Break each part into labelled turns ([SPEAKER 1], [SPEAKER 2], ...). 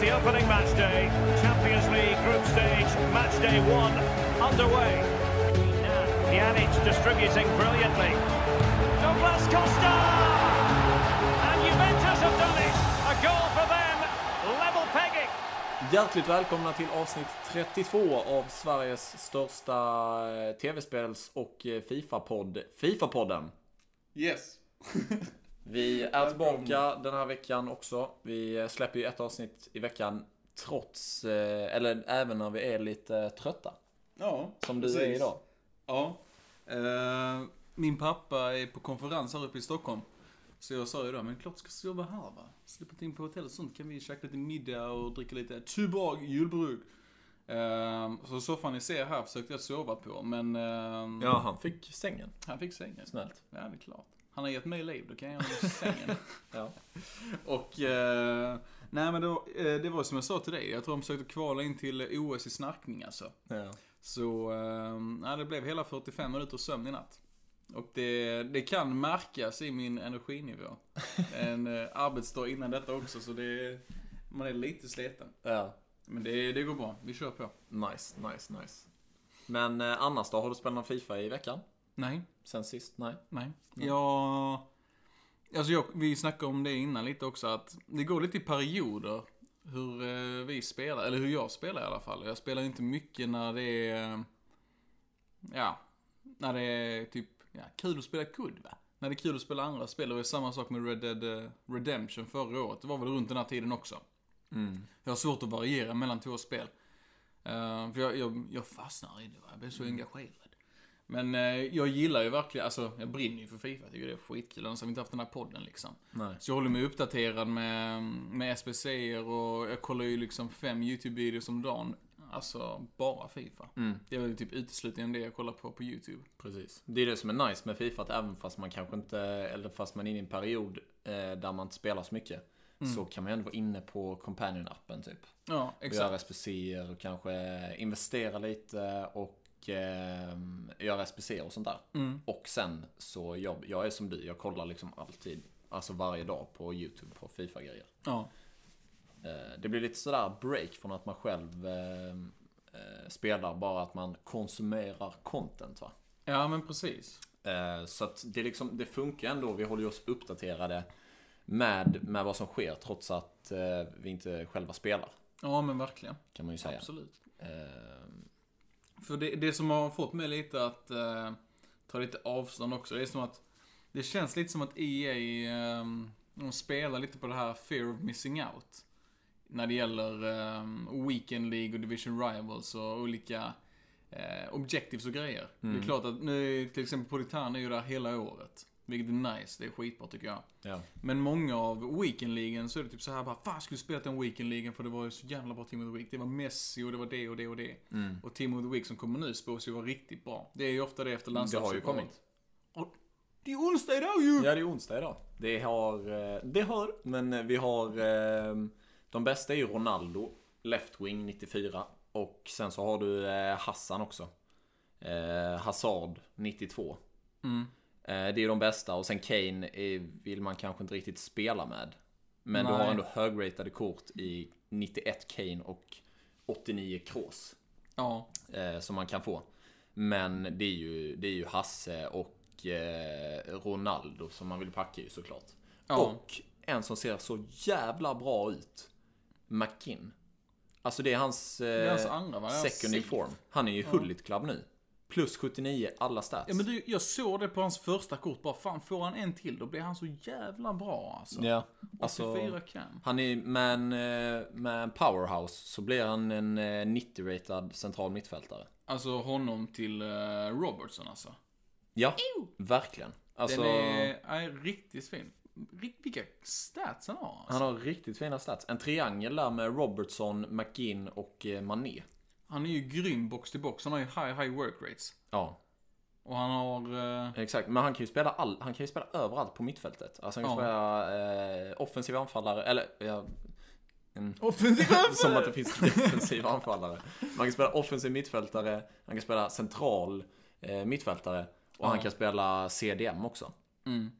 [SPEAKER 1] the opening match day, Champions League group stage, match day one underway. Pjanic distributing brilliantly. Douglas Costa! And Juventus have done it! A goal for them, level pegging.
[SPEAKER 2] Hjärtligt välkomna till avsnitt 32 av Sveriges största eh, tv-spels och eh, Fifa-podd, Fifa-podden.
[SPEAKER 3] Yes.
[SPEAKER 2] Vi är tillbaka den här veckan också. Vi eh, släpper ju ett avsnitt i veckan trots, eh, eller även när vi är lite trötta.
[SPEAKER 3] Ja,
[SPEAKER 2] Som du är
[SPEAKER 3] precis.
[SPEAKER 2] idag.
[SPEAKER 3] Ja. Eh, min pappa är på konferens här uppe i Stockholm. Så jag sa ju då, men klart ska jag jobba här va. Släppa in på hotell och sånt kan vi käka lite middag och dricka lite Tuborg julbruk. Eh, så soffan ni ser här försökte jag sova på, men eh,
[SPEAKER 2] Ja, han fick sängen.
[SPEAKER 3] han fick sängen.
[SPEAKER 2] Snällt.
[SPEAKER 3] Ja, det är klart. Han har gett mig liv, då kan jag göra sängen.
[SPEAKER 2] Ja.
[SPEAKER 3] Och, eh, nej men då, eh, det var som jag sa till dig, jag tror de försökte kvala in till OS i snarkning alltså.
[SPEAKER 2] Ja.
[SPEAKER 3] Så, eh, nej, det blev hela 45 minuter sömn i natt. Och det, det kan märkas i min energinivå. En eh, arbetsdag innan detta också, så det, man är lite sliten.
[SPEAKER 2] ja.
[SPEAKER 3] Men det, det går bra, vi kör på.
[SPEAKER 2] Nice, nice, nice. Men eh, annars då? Har du spelat någon Fifa i veckan?
[SPEAKER 3] Nej,
[SPEAKER 2] Sen sist? Nej.
[SPEAKER 3] nej. Jag, alltså jag, vi snackade om det innan lite också, att det går lite i perioder hur eh, vi spelar, eller hur jag spelar i alla fall. Jag spelar inte mycket när det är, eh, ja, när det är typ, ja, kul att spela kudd va? När det är kul att spela andra spel, det var ju samma sak med Red Dead eh, Redemption förra året. Det var väl runt den här tiden också. Jag har svårt att variera mellan två spel. Eh, för jag, jag, jag fastnar i det va? jag blir så engagerad. Men eh, jag gillar ju verkligen, alltså jag brinner ju för Fifa, jag tycker det är skitkul. Annars har vi inte haft den här podden liksom.
[SPEAKER 2] Nej.
[SPEAKER 3] Så jag håller mig uppdaterad med, med SBC och jag kollar ju liksom fem YouTube-videos om dagen. Alltså, bara Fifa. Det är väl typ uteslutande det jag kollar på på YouTube.
[SPEAKER 2] Mm. Precis. Det är det som är nice med Fifa, att även fast man kanske inte, eller fast man är inne i en period eh, där man inte spelar så mycket, så kan man ju ändå vara inne på Companion-appen typ.
[SPEAKER 3] Ja,
[SPEAKER 2] Och
[SPEAKER 3] exakt.
[SPEAKER 2] göra SPCer och kanske investera lite och eh, göra SPCer och sånt där. Och sen så, jag, jag är som du, jag kollar liksom alltid, alltså varje dag på YouTube på Fifa-grejer.
[SPEAKER 3] Ja,
[SPEAKER 2] Eh, Det blir lite sådär break från att man själv eh, eh, spelar, bara att man konsumerar content va.
[SPEAKER 3] ja men precis.
[SPEAKER 2] Eh, Så att det, liksom, det funkar ändå. Vi håller ju oss uppdaterade med, med vad som sker trots att eh, vi inte själva spelar.
[SPEAKER 3] Ja, men verkligen.
[SPEAKER 2] Kan man ju säga.
[SPEAKER 3] Absolut.
[SPEAKER 2] Eh,
[SPEAKER 3] För det, det som har fått mig lite att eh, ta lite avstånd också, det är som att det känns lite som att EA ehm, de spelar lite på det här fear of missing out. När det gäller ehm, Weekend League och Division Rivals och olika eh, objectives och grejer. Det är klart att nu till exempel Politan är ju där hela året. Vilket är nice, det är skitbra tycker jag.
[SPEAKER 2] ja.
[SPEAKER 3] Men många av weekendligen så är det typ så här bara Fan, jag skulle spela den weekendligen för det var ju så jävla bra Team of the Week. Det var Messi och det var det och det och det. Och Team of the Week som kommer nu spås ju vara riktigt bra. Det är ju ofta det efter
[SPEAKER 2] Det har ju
[SPEAKER 3] landslagsuppehållet.
[SPEAKER 2] kommit.
[SPEAKER 3] Och Det är onsdag idag ju!
[SPEAKER 2] Ja, det är onsdag idag. Det har, eh, det har, men eh, vi har eh, De bästa är ju Ronaldo, Leftwing 94 och sen så har du eh, Hassan också. Eh, Hazard 92. Eh, Det är ju de bästa och sen Kane eh, vill man kanske inte riktigt spela med. Men du har
[SPEAKER 3] Nej.
[SPEAKER 2] ändå högratade kort i 91 Kane och 89 Kroos.
[SPEAKER 3] Ja,
[SPEAKER 2] Eh, som man kan få. Men det är ju, det är ju Hasse och eh, Ronaldo som man vill packa ju såklart.
[SPEAKER 3] Ja.
[SPEAKER 2] Och en som ser så jävla bra ut. McKin. Alltså det är hans, eh,
[SPEAKER 3] är hans andra, va?
[SPEAKER 2] second in
[SPEAKER 3] Sixth.
[SPEAKER 2] form. Han är ju hulligt club nu. Plus 79 alla stats.
[SPEAKER 3] ja men du, jag såg det på hans första kort bara. Fan, får han en till då blir han så jävla bra alltså.
[SPEAKER 2] Ja,
[SPEAKER 3] 84
[SPEAKER 2] alltså,
[SPEAKER 3] kan.
[SPEAKER 2] han är med en, eh, med en powerhouse så blir han en eh, 90-ratad central mittfältare.
[SPEAKER 3] Alltså honom till eh, Robertson alltså.
[SPEAKER 2] Ja, verkligen. Alltså,
[SPEAKER 3] Den är, är riktigt fin. Rikt, vilka stats han har alltså.
[SPEAKER 2] Han har riktigt fina stats. En triangel där med Robertson, McGinn och eh, Mané.
[SPEAKER 3] Han är ju grym box till box. Han har ju high, high work rates.
[SPEAKER 2] Ja,
[SPEAKER 3] Och han har... eh,
[SPEAKER 2] exakt. Men han kan ju spela, all, han kan ju spela överallt på mittfältet. Alltså han kan
[SPEAKER 3] Ja.
[SPEAKER 2] spela eh, offensiv anfallare, eller ja,
[SPEAKER 3] Offensiv
[SPEAKER 2] som att det finns defensiva anfallare. Man kan spela offensiv mittfältare, han kan spela central eh, mittfältare och han kan spela CDM också.
[SPEAKER 3] det här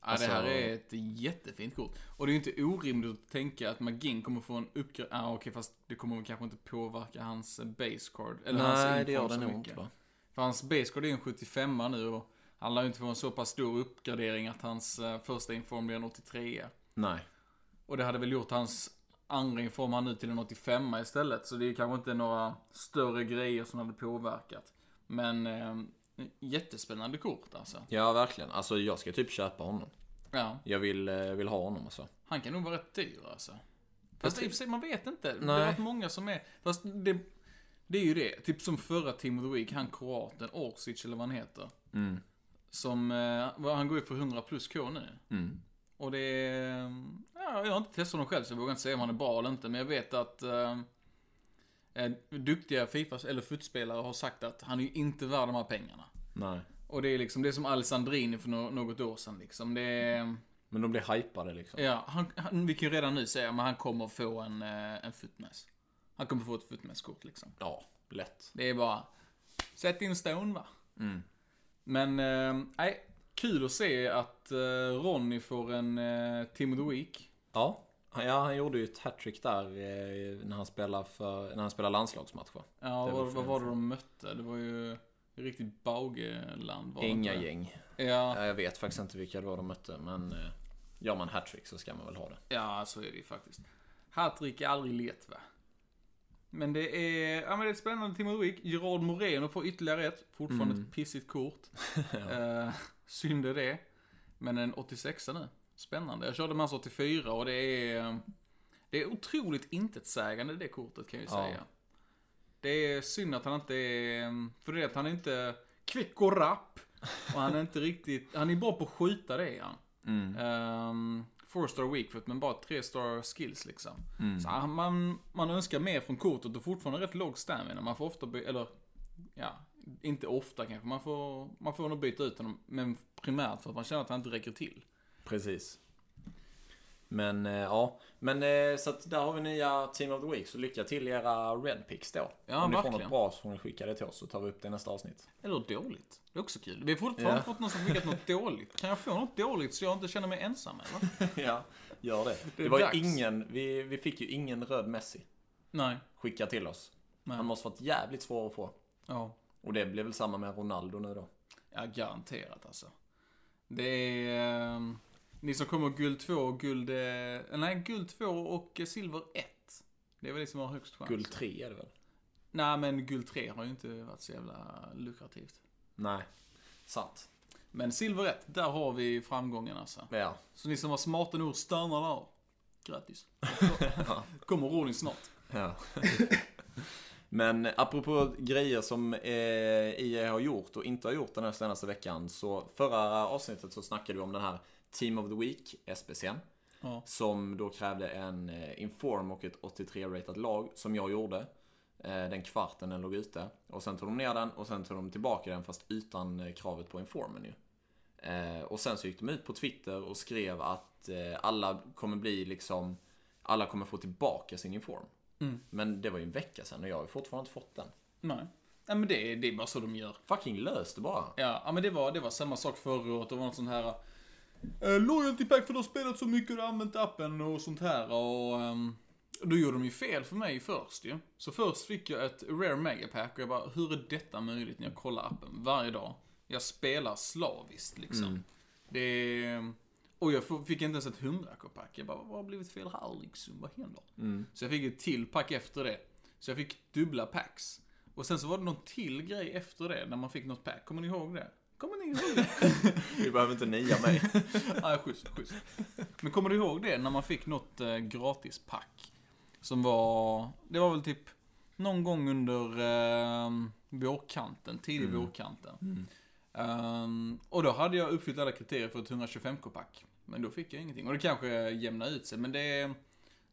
[SPEAKER 2] Alltså-
[SPEAKER 3] är ett jättefint kort. Och det är ju inte orimligt att tänka att Magin kommer få en uppgradering. Ah, okej, fast det kommer väl kanske inte påverka hans base card. Eller hans
[SPEAKER 2] Nej,
[SPEAKER 3] info
[SPEAKER 2] det gör
[SPEAKER 3] så
[SPEAKER 2] det nog
[SPEAKER 3] mycket.
[SPEAKER 2] inte va?
[SPEAKER 3] För hans base card är ju en 75 nu och han lär ju inte få en så pass stor uppgradering att hans eh, första inform blir en 83
[SPEAKER 2] Nej.
[SPEAKER 3] Och det hade väl gjort hans andra inform han nu till en 85 istället. Så det är kanske inte några större grejer som hade påverkat. Men eh, jättespännande kort alltså.
[SPEAKER 2] Ja, verkligen. Alltså jag ska typ köpa honom.
[SPEAKER 3] Ja,
[SPEAKER 2] Jag vill, eh, vill ha honom alltså.
[SPEAKER 3] han kan nog vara rätt dyr alltså. Fast i och för sig, man vet inte. Det har
[SPEAKER 2] Nej.
[SPEAKER 3] varit många som är... Fast det, det är ju det. Typ som förra Team of the Week, han kroaten, Orsic eller vad han heter. Som, eh, vad- han går ju för 100 plus K nu. Och det är, ja, jag har inte testat honom själv så jag vågar inte säga om han är bra eller inte. Men jag vet att eh, eh, duktiga Fifa eller futspelare har sagt att han är ju inte värd de här pengarna.
[SPEAKER 2] Nej.
[SPEAKER 3] Och det är liksom, det är som Alessandrini för nå- något år sedan liksom. Det är,
[SPEAKER 2] Men de blir hypade liksom.
[SPEAKER 3] ja, han, han, vi kan ju redan nu säga, men han kommer få en, eh, en footmess. Han kommer få ett footmess-kort liksom.
[SPEAKER 2] Ja, lätt.
[SPEAKER 3] Det är bara, sätt in stone va.
[SPEAKER 2] Mm.
[SPEAKER 3] Men, eh, nej, kul att se att eh, Ronny får en eh, Team of the Week.
[SPEAKER 2] Ja. Ja, han gjorde ju ett hattrick där eh, när han spelade, för, när han spelade landslagsmatcher.
[SPEAKER 3] Ja,
[SPEAKER 2] Det var
[SPEAKER 3] vad, vad
[SPEAKER 2] fint.
[SPEAKER 3] var det de mötte? Det var ju riktigt Baugeland var det
[SPEAKER 2] Inga
[SPEAKER 3] inte?
[SPEAKER 2] gäng.
[SPEAKER 3] Ja,
[SPEAKER 2] Ja, jag vet faktiskt inte vilka det var de mötte, men eh, gör man hattrick så ska man väl ha det.
[SPEAKER 3] ja, så är det ju faktiskt. Hattrick är aldrig let va? Men det är, ja men det är ett spännande Team of the Week. Gerard Moreno får ytterligare ett. Fortfarande
[SPEAKER 2] Mm.
[SPEAKER 3] ett pissigt kort. ja. Eh, synd är det. Men en 86 nu. Spännande. Jag körde med hans 84 och det är, ehm, det är otroligt intetsägande det kortet kan jag ju
[SPEAKER 2] Ja.
[SPEAKER 3] säga. Det är synd att han inte är... ehm, För det är att han är inte kvick och rapp. Och han är inte riktigt... Han är bra på att skjuta, det är han. Mm. four star weak foot, men bara tre star skills liksom. Så han- man, man önskar mer från kortet och fortfararande rätt låg stamina. Man får ofta by- eller ja, inte ofta kanske. Man får, man får nog byta ut honom, men primärt för att man känner att han inte räcker till.
[SPEAKER 2] Precis. Men eh, ja, men eh, så att där har vi nya Team of the Week. Så lycka till i era Red Picks då.
[SPEAKER 3] Ja,
[SPEAKER 2] Om ni får
[SPEAKER 3] verkligen.
[SPEAKER 2] något bra så får ni skicka det till oss så tar vi upp det i nästa avsnitt.
[SPEAKER 3] Eller dåligt. Det är också kul. Vi har fortfarande
[SPEAKER 2] Ja.
[SPEAKER 3] fått någon som skickat något dåligt. Kan jag få något dåligt så jag inte känner mig ensam eller?
[SPEAKER 2] ja, gör det. Det,
[SPEAKER 3] är
[SPEAKER 2] var
[SPEAKER 3] dags.
[SPEAKER 2] ju ingen, vi, vi fick ju ingen röd Messi
[SPEAKER 3] Nej.
[SPEAKER 2] skicka till oss.
[SPEAKER 3] Nej.
[SPEAKER 2] Han måste varit jävligt svår att få.
[SPEAKER 3] Ja.
[SPEAKER 2] Och det blev väl samma med Ronaldo nu då.
[SPEAKER 3] Ja, garanterat alltså. Det är... Eh, ni som kommer guld 2 och guld... Eh, nej, guld 2 och eh, silver 1. Det är väl det som har högst chans.
[SPEAKER 2] Guld 3 är det väl?
[SPEAKER 3] Nej, men guld 3 har ju inte varit så jävla lukrativt.
[SPEAKER 2] Nej, sant.
[SPEAKER 3] Men silver 1, där har vi framgången alltså.
[SPEAKER 2] Ja,
[SPEAKER 3] Så ni som var smarta nog stannar där. Grattis. kommer Ronny snart.
[SPEAKER 2] Ja. Men apropå grejer som eh, IA har gjort och inte har gjort den här senaste veckan. Så förra avsnittet så snackade vi om den här Team of the Week, SPCn.
[SPEAKER 3] Ja.
[SPEAKER 2] Som då krävde en eh, inform och ett 83-ratat lag, som jag gjorde. Eh, den kvarten den låg ute. Och sen tog de ner den och sen tog de tillbaka den fast utan eh, kravet på informen ju. Eh, och sen så gick de ut på Twitter och skrev att eh, alla kommer bli liksom, alla kommer få tillbaka sin inform. Men det var ju en vecka sedan och jag har ju fortfarande inte fått den.
[SPEAKER 3] Nej. Nej, men det, är- det är bara så de gör.
[SPEAKER 2] Fucking löst det bara.
[SPEAKER 3] Ja, ja men det var, det var samma sak förra året. Det var något sånt här... Eh, loyalty pack för du har spelat så mycket och du har använt appen och sånt här. Och ehm, då gjorde de ju fel för mig först ju. Så först fick jag ett rare megapack och jag bara, hur är detta möjligt när jag kollar appen varje dag? Jag spelar slaviskt liksom. Det är, och jag f- fick inte ens ett 100k-pack. Jag bara, vad har blivit fel här liksom? Vad händer? Så jag fick ett till pack efter det. Så jag fick dubbla packs. Och sen så var det någon till grej efter det, när man fick något pack. Kommer ni ihåg det? Kommer ni ihåg det?
[SPEAKER 2] Vi behöver inte nia mig.
[SPEAKER 3] Ja, schysst, schysst. Men kommer du ihåg det när man fick något eh, gratispack? Som var, det var väl typ någon gång under eh, vårkanten, tidig
[SPEAKER 2] Mm.
[SPEAKER 3] vårkanten. Ehm, och då hade jag uppfyllt alla kriterier för ett 125k-pack. Men då fick jag ingenting. Och det kanske jämnar ut sig, men det...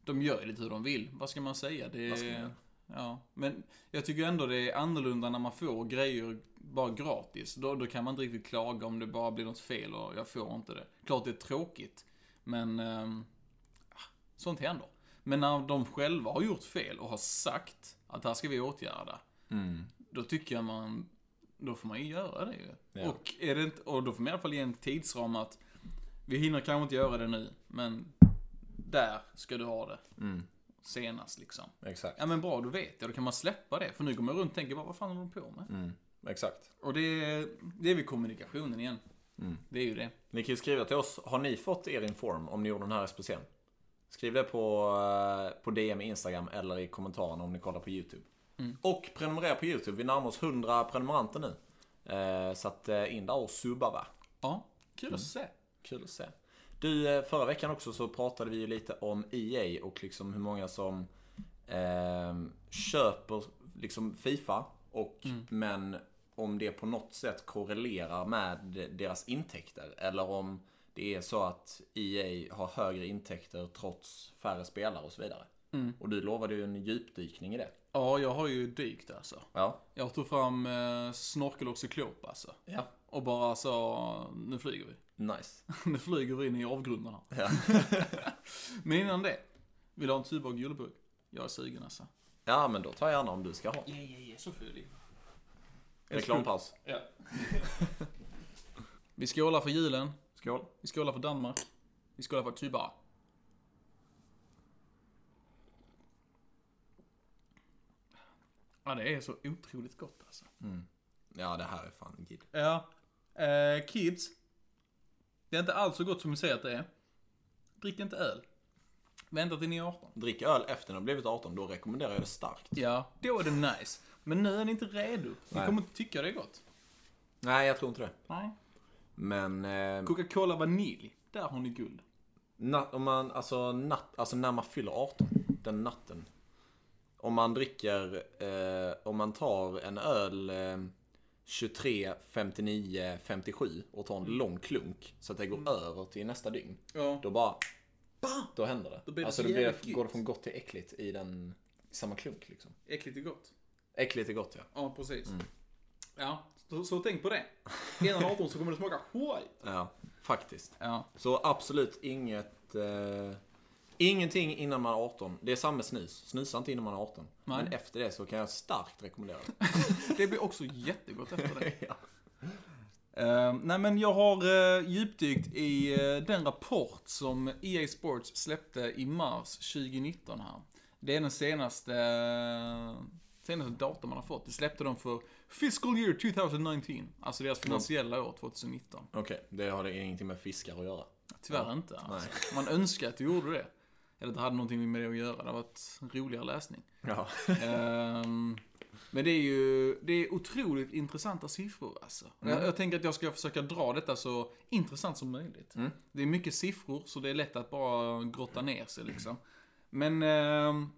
[SPEAKER 3] De gör ju lite hur de vill. Vad ska man säga? Det,
[SPEAKER 2] Vad ska man göra?
[SPEAKER 3] ja. Men jag tycker ändå det är annorlunda när man får grejer bara gratis. Då, då kan man inte riktigt klaga om det bara blir något fel och jag får inte det. Klart det är tråkigt, men... ehm, ah, sånt händer. Men när de själva har gjort fel och har sagt att det här ska vi åtgärda. Då tycker jag man... Då får man ju göra det ju.
[SPEAKER 2] Ja.
[SPEAKER 3] Och, är det inte, och då får man i alla fall ge en tidsram att Vi hinner kanske inte göra det nu, men där ska du ha det. Senast liksom.
[SPEAKER 2] Exakt.
[SPEAKER 3] Ja men bra, då vet jag. Då kan man släppa det. För nu går man runt och tänker bara, vad fan håller de på med?
[SPEAKER 2] Exakt.
[SPEAKER 3] Och det, det är väl kommunikationen igen. Det är ju det.
[SPEAKER 2] Ni kan ju skriva till oss. Har ni fått er inform om ni gjorde den här SPC'n? Skriv det på, eh, på DM i Instagram eller i kommentarerna om ni kollar på YouTube. Och prenumerera på YouTube. Vi närmar oss 100 prenumeranter nu. Eh, så att eh, in där och subba va.
[SPEAKER 3] Ja, kul att se.
[SPEAKER 2] Kul att se. Du, eh, förra veckan också så pratade vi ju lite om EA och liksom hur många som ehm, köper liksom Fifa och men om det på något sätt korrelerar med deras intäkter eller om det är så att EA har högre intäkter trots färre spelare och så vidare. Och du lovade ju en djupdykning i det.
[SPEAKER 3] Ja, jag har ju dykt alltså.
[SPEAKER 2] Ja.
[SPEAKER 3] Jag tog fram eh, snorkel och cyklop alltså.
[SPEAKER 2] Ja.
[SPEAKER 3] Och bara sa, nu flyger vi.
[SPEAKER 2] Nice.
[SPEAKER 3] nu flyger vi in i avgrunderna.
[SPEAKER 2] Ja.
[SPEAKER 3] Men innan det, vill du ha en Tuborg julburk? Jag är sugen alltså.
[SPEAKER 2] ja, men då tar jag gärna om du ska ha.
[SPEAKER 3] Ja, ja, ja, så ful.
[SPEAKER 2] Reklampaus.
[SPEAKER 3] Ja. vi skålar för julen,
[SPEAKER 2] Skål.
[SPEAKER 3] vi skålar för Danmark, vi skålar för Tuba. Ja, det är så otroligt gott alltså.
[SPEAKER 2] Ja, det här är fan gid.
[SPEAKER 3] Ja. Eh, kids. Det är inte alls så gott som vi säger att det är. Drick inte öl. Vänta till ni är 18.
[SPEAKER 2] Drick öl efter ni har blivit 18, då rekommenderar jag det starkt.
[SPEAKER 3] Ja, då är det nice. Men nu är ni inte redo. Ni
[SPEAKER 2] Nej.
[SPEAKER 3] kommer inte tycka det är gott.
[SPEAKER 2] Nej, jag tror inte det.
[SPEAKER 3] Nej.
[SPEAKER 2] Men eh,
[SPEAKER 3] Coca-Cola vanilj. Där har ni guld.
[SPEAKER 2] natt, om man, alltså, natt, alltså när man fyller 18, den natten. Om man dricker, eh, om man tar en öl eh, 23, 59, 57 och tar en lång klunk så att det går över till nästa dygn.
[SPEAKER 3] Ja.
[SPEAKER 2] Då bara, då händer det.
[SPEAKER 3] Då blir det
[SPEAKER 2] alltså
[SPEAKER 3] så
[SPEAKER 2] då blir
[SPEAKER 3] jävligt
[SPEAKER 2] det,
[SPEAKER 3] gott.
[SPEAKER 2] går det från gott till äckligt i den, samma klunk liksom.
[SPEAKER 3] Äckligt är gott.
[SPEAKER 2] Äckligt är gott ja.
[SPEAKER 3] Ja, precis. Ja, så, så tänk på det. Innan 18 så kommer det smaka skit.
[SPEAKER 2] Ja, faktiskt.
[SPEAKER 3] Ja.
[SPEAKER 2] Så absolut inget... Eh, ingenting innan man är 18. Det är samma med snus. Snusa inte innan man är 18.
[SPEAKER 3] Nej.
[SPEAKER 2] Men efter det så kan jag starkt rekommendera det.
[SPEAKER 3] Det blir också jättegott efter det.
[SPEAKER 2] ja.
[SPEAKER 3] Eh, nej men jag har eh, djupdykt i eh, den rapport som EA Sports släppte i mars 2019 här. Det är den senaste, eh, senaste datum man har fått. Det släppte de för Fiscal Year 2019. Alltså deras finansiella år 2019.
[SPEAKER 2] Okej, det har det ingenting med fiskar att göra.
[SPEAKER 3] Tyvärr inte alltså. Man önskar att du gjorde det. Eller att det hade någonting med det att göra. Det hade varit en roligare läsning.
[SPEAKER 2] Ja.
[SPEAKER 3] Ehm, men det är ju det är otroligt intressanta siffror alltså.
[SPEAKER 2] Mm.
[SPEAKER 3] Jag, jag tänker att jag ska försöka dra detta så intressant som möjligt.
[SPEAKER 2] Mm.
[SPEAKER 3] Det är mycket siffror så det är lätt att bara grotta ner sig liksom. Men ehm,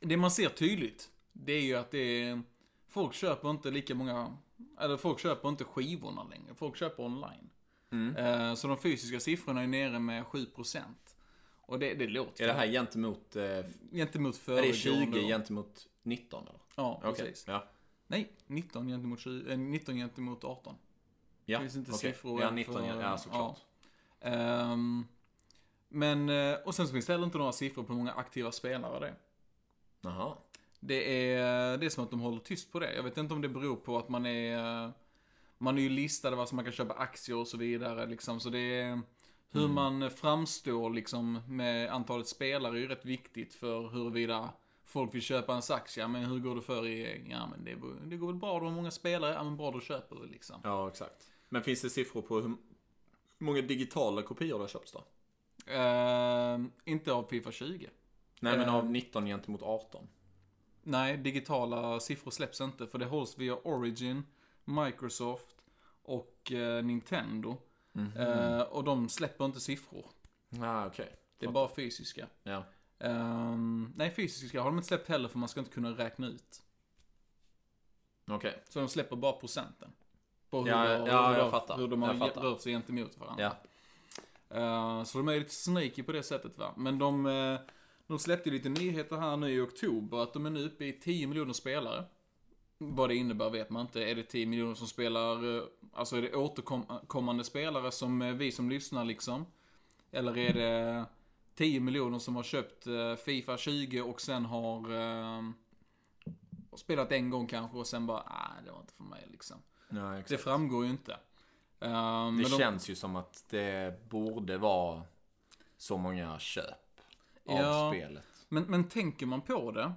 [SPEAKER 3] det man ser tydligt, det är ju att det är, folk köper inte lika många, eller folk köper inte skivorna längre. Folk köper online.
[SPEAKER 2] Mm.
[SPEAKER 3] Ehm, så de fysiska siffrorna är nere med 7%. Och det, det låter
[SPEAKER 2] Är det här gentemot... Eh, är
[SPEAKER 3] gentemot
[SPEAKER 2] det
[SPEAKER 3] föregående
[SPEAKER 2] 20
[SPEAKER 3] år.
[SPEAKER 2] gentemot 19 eller?
[SPEAKER 3] Ja,
[SPEAKER 2] Okej,
[SPEAKER 3] precis.
[SPEAKER 2] Ja.
[SPEAKER 3] Nej, 19 gentemot, 20, eh, 19 gentemot 18.
[SPEAKER 2] Ja,
[SPEAKER 3] Det finns inte
[SPEAKER 2] okej.
[SPEAKER 3] siffror
[SPEAKER 2] Ja,
[SPEAKER 3] än
[SPEAKER 2] 19
[SPEAKER 3] för-
[SPEAKER 2] gen- Ja, såklart.
[SPEAKER 3] Ehm, men, eh, och sen så finns det heller inte några siffror på hur många aktiva spelare det är.
[SPEAKER 2] Jaha.
[SPEAKER 3] Det är, det är som att de håller tyst på det. Jag vet inte om det beror på att man är... eh, Man är ju listad vad som man kan köpa aktier och så vidare liksom. Så det är... Hur man framstår liksom med antalet spelare är ju rätt viktigt för huruvida folk vill köpa ens aktie. Men hur går det för i... Ja men det, det går väl bra, du har många spelare. Ja men bra, då köper vi liksom.
[SPEAKER 2] Ja, exakt. Men finns det siffror på hur många digitala kopior det har köpts då?
[SPEAKER 3] Ehm, inte av Fifa 20.
[SPEAKER 2] Nej, men
[SPEAKER 3] Eh.
[SPEAKER 2] av 19 gentemot 18.
[SPEAKER 3] Nej, digitala siffror släpps inte för det hålls via Origin, Microsoft och eh, Nintendo.
[SPEAKER 2] Mhm.
[SPEAKER 3] Eh, och de släpper inte siffror.
[SPEAKER 2] Ah, okej.
[SPEAKER 3] Det är bara fysiska.
[SPEAKER 2] Ja.
[SPEAKER 3] Ehm, nej, fysiska har de inte släppt heller för man ska inte kunna räkna ut.
[SPEAKER 2] Okej.
[SPEAKER 3] Så de släpper bara procenten. På hur,
[SPEAKER 2] Ja,
[SPEAKER 3] det-
[SPEAKER 2] ja,
[SPEAKER 3] hur, det-
[SPEAKER 2] jag fattar.
[SPEAKER 3] hur de har
[SPEAKER 2] Jag fattar.
[SPEAKER 3] rört sig gentemot varandra.
[SPEAKER 2] Ja.
[SPEAKER 3] Eh, så de är lite sneaky på det sättet va. Men de, eh, de släppte lite nyheter här nu i oktober att de är nu uppe i 10 miljoner spelare. Vad det innebär vet man inte. Är det 10 miljoner som spelar, eh, alltså är det återkommande spelare som eh, vi som lyssnar liksom? Eller är det 10 miljoner som har köpt eh, Fifa 20 och sen har eh, spelat en gång kanske och sen bara, nej det "Ah, var inte för mig liksom.
[SPEAKER 2] Ja, exakt.
[SPEAKER 3] Det framgår ju inte. Eh,
[SPEAKER 2] Det
[SPEAKER 3] men de-
[SPEAKER 2] känns ju som att det borde vara så många köp av
[SPEAKER 3] Ja.
[SPEAKER 2] spelet.
[SPEAKER 3] Men, men tänker man på det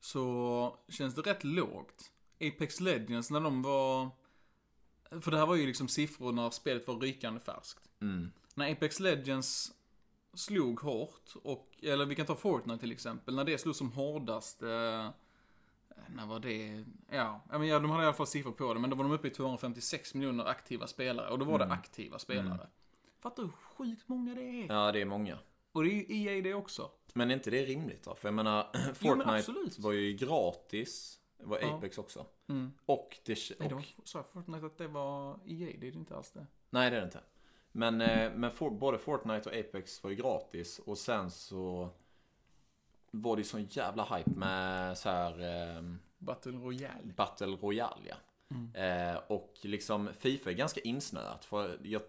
[SPEAKER 3] så känns det rätt lågt. Apex Legends när de var... För det här var ju liksom siffror när spelet var rykande färskt. När Apex Legends slog hårt, och, eller vi kan ta Fortnite till exempel, när det slog som hårdast... Eh, när var det? Ja, ja, men ja, de hade i alla fall siffror på det, men då var de uppe i 256 miljoner aktiva spelare, och då var det aktiva spelare. Fattar du hur sjukt många det är?
[SPEAKER 2] Ja, det är många.
[SPEAKER 3] Och det är ju EA det också.
[SPEAKER 2] Men är inte det rimligt då? För jag menar, Fortnite
[SPEAKER 3] absolut.
[SPEAKER 2] var ju gratis. Det var Apex också. Och det... Och,
[SPEAKER 3] Nej, det var, sa jag Fortnite att det var EA? Det är det inte alls det.
[SPEAKER 2] Nej, det är det inte. Men, eh, men for, både Fortnite och Apex var ju gratis. Och sen så var det ju sån jävla hype med så här... ehm,
[SPEAKER 3] Battle Royale.
[SPEAKER 2] Battle Royale, ja. Eh, och liksom Fifa är ganska insnöat. För jag,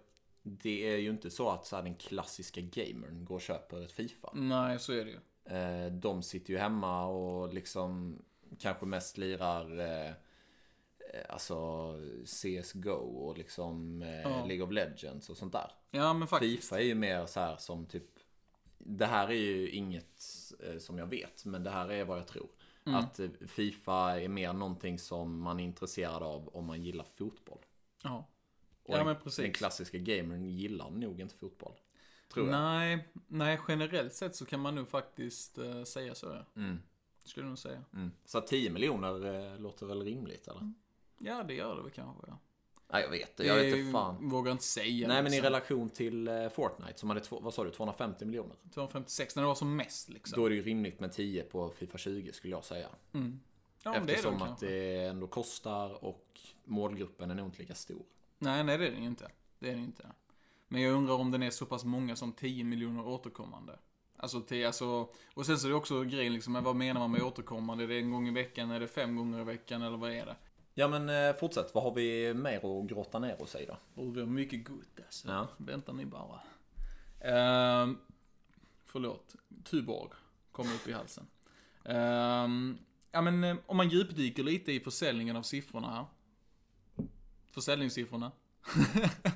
[SPEAKER 2] det är ju inte så att så här, den klassiska gamern går och köper ett Fifa.
[SPEAKER 3] Nej, så är det ju.
[SPEAKER 2] Eh, de sitter ju hemma och liksom kanske mest lirar eh, eh, alltså CSGO och liksom eh, League of Legends och sånt där.
[SPEAKER 3] Ja, men faktiskt.
[SPEAKER 2] Fifa är ju mer så här som typ Det här är ju inget eh, som jag vet men det här är vad jag tror.
[SPEAKER 3] Mm.
[SPEAKER 2] Att eh, Fifa är mer någonting som man är intresserad av om man gillar fotboll.
[SPEAKER 3] Ja.
[SPEAKER 2] Och
[SPEAKER 3] Ja,
[SPEAKER 2] den-
[SPEAKER 3] men precis.
[SPEAKER 2] Den klassiska gamern gillar nog inte fotboll. Tror jag.
[SPEAKER 3] Nej, nej, generellt sett så kan man nog faktiskt eh, säga så. Ja. Skulle jag nog säga.
[SPEAKER 2] Mm. Så 10 miljoner eh, låter väl rimligt eller?
[SPEAKER 3] Ja, det gör det väl kanske. Ja.
[SPEAKER 2] Nej jag vet det, jag vet
[SPEAKER 3] Mm. Det
[SPEAKER 2] inte fan.
[SPEAKER 3] Vågar inte säga.
[SPEAKER 2] Nej men i
[SPEAKER 3] liksom.
[SPEAKER 2] relation till eh, Fortnite som hade, två, vad sa du, 250 miljoner?
[SPEAKER 3] 256, när det var som mest liksom.
[SPEAKER 2] Då är det ju rimligt med 10 på Fifa 20 skulle jag säga.
[SPEAKER 3] ja, men
[SPEAKER 2] Eftersom
[SPEAKER 3] det är det
[SPEAKER 2] att
[SPEAKER 3] kanske.
[SPEAKER 2] det ändå kostar och målgruppen är nog inte lika stor.
[SPEAKER 3] Nej, nej, det är det ju inte. Det är det inte. Men jag undrar om den är så pass många som 10 miljoner återkommande. Alltså, till, alltså, och sen så är det också grejen liksom, men vad menar man med återkommande? Är det en gång i veckan? Är det fem gånger i veckan? Eller vad är det?
[SPEAKER 2] Ja men eh, fortsätt, vad har vi mer att grotta ner oss i då?
[SPEAKER 3] Och vi har mycket gott alltså.
[SPEAKER 2] Ja.
[SPEAKER 3] Vänta ni bara. Ehm, förlåt. Tuborg kom upp i halsen. Ehm, ja men eh, om man djupdyker lite i försäljningen av siffrorna här. Försäljningssiffrorna.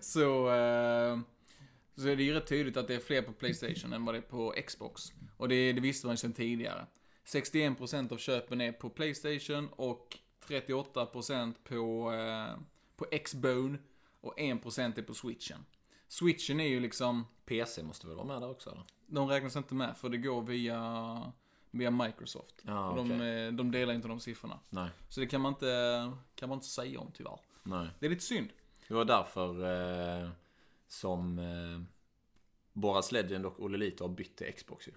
[SPEAKER 3] så, eh, så är det ju rätt tydligt att det är fler på Playstation än vad det är på Xbox. Och det, det visste man ju sedan tidigare. 61% av köpen är på Playstation och 38% på, eh, på Xbone och 1% är på Switchen. Switchen är ju liksom,
[SPEAKER 2] PC måste väl vara med där också eller?
[SPEAKER 3] de räknas inte med för det går via, via Microsoft.
[SPEAKER 2] Ja,
[SPEAKER 3] Och de,
[SPEAKER 2] okej.
[SPEAKER 3] eh, de delar inte de siffrorna.
[SPEAKER 2] Nej,
[SPEAKER 3] Så det kan man inte, kan man inte säga om tyvärr.
[SPEAKER 2] nej.
[SPEAKER 3] Det är lite synd.
[SPEAKER 2] Det var därför eh, som eh, Boras Legend och Olle Lito har bytt till Xbox ju.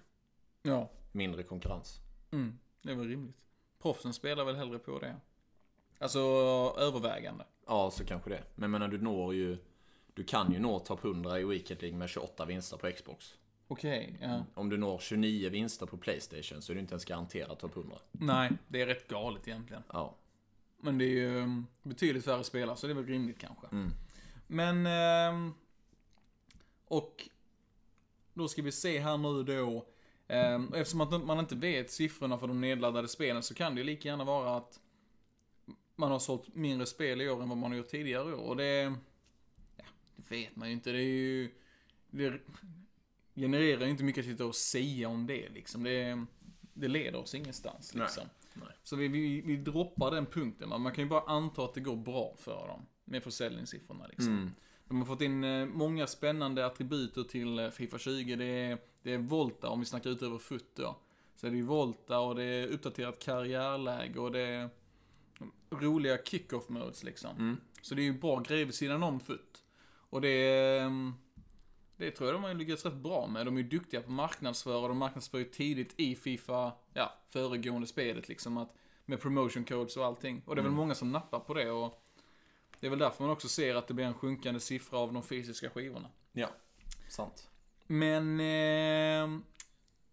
[SPEAKER 3] Ja.
[SPEAKER 2] Mindre konkurrens.
[SPEAKER 3] Mm, det var rimligt. Proffsen spelar väl hellre på det. Alltså övervägande.
[SPEAKER 2] Ja, så kanske det. Men jag menar, du når ju... Du kan ju nå topp 100 i Weekend League med 28 vinster på Xbox.
[SPEAKER 3] Okej, ja.
[SPEAKER 2] Om du når 29 vinster på Playstation så är du inte ens garanterad topp 100.
[SPEAKER 3] Nej, det är rätt galet egentligen.
[SPEAKER 2] Ja.
[SPEAKER 3] Men det är ju um, betydligt färre spelare, så det är väl rimligt kanske. Men... ehm, och... Då ska vi se här nu då. ehm, och eftersom att man inte vet siffrorna för de nedladdade spelen så kan det ju lika gärna vara att man har sålt mindre spel i år än vad man har gjort tidigare år. Och det... Ja, det vet man ju inte. Det är ju... Det genererar ju inte mycket att sitta och säga om det liksom. Det, det leder oss ingenstans
[SPEAKER 2] Nej.
[SPEAKER 3] liksom.
[SPEAKER 2] Nej.
[SPEAKER 3] Så vi, vi, vi droppar den punkten. va. Man kan ju bara anta att det går bra för dem. Med försäljningssiffrorna liksom.
[SPEAKER 2] Mm.
[SPEAKER 3] De har fått in eh, många spännande attributer till eh, Fifa 20. Det är, det är Volta, om vi snackar utöver FUT då. Så är det ju Volta och det är uppdaterat karriärläge och det är roliga kick-off modes liksom. Så det är ju bra grejer vid sidan om FUT. Och det är... ehm, Det tror jag de har lyckats rätt bra med. De är ju duktiga på marknadsföra och de marknadsför ju tidigt i Fifa, ja, föregående spelet liksom. Att, med promotion codes och allting. Och det är väl många som nappar på det och det är väl därför man också ser att det blir en sjunkande siffra av de fysiska skivorna.
[SPEAKER 2] Ja. Sant.
[SPEAKER 3] Men eh,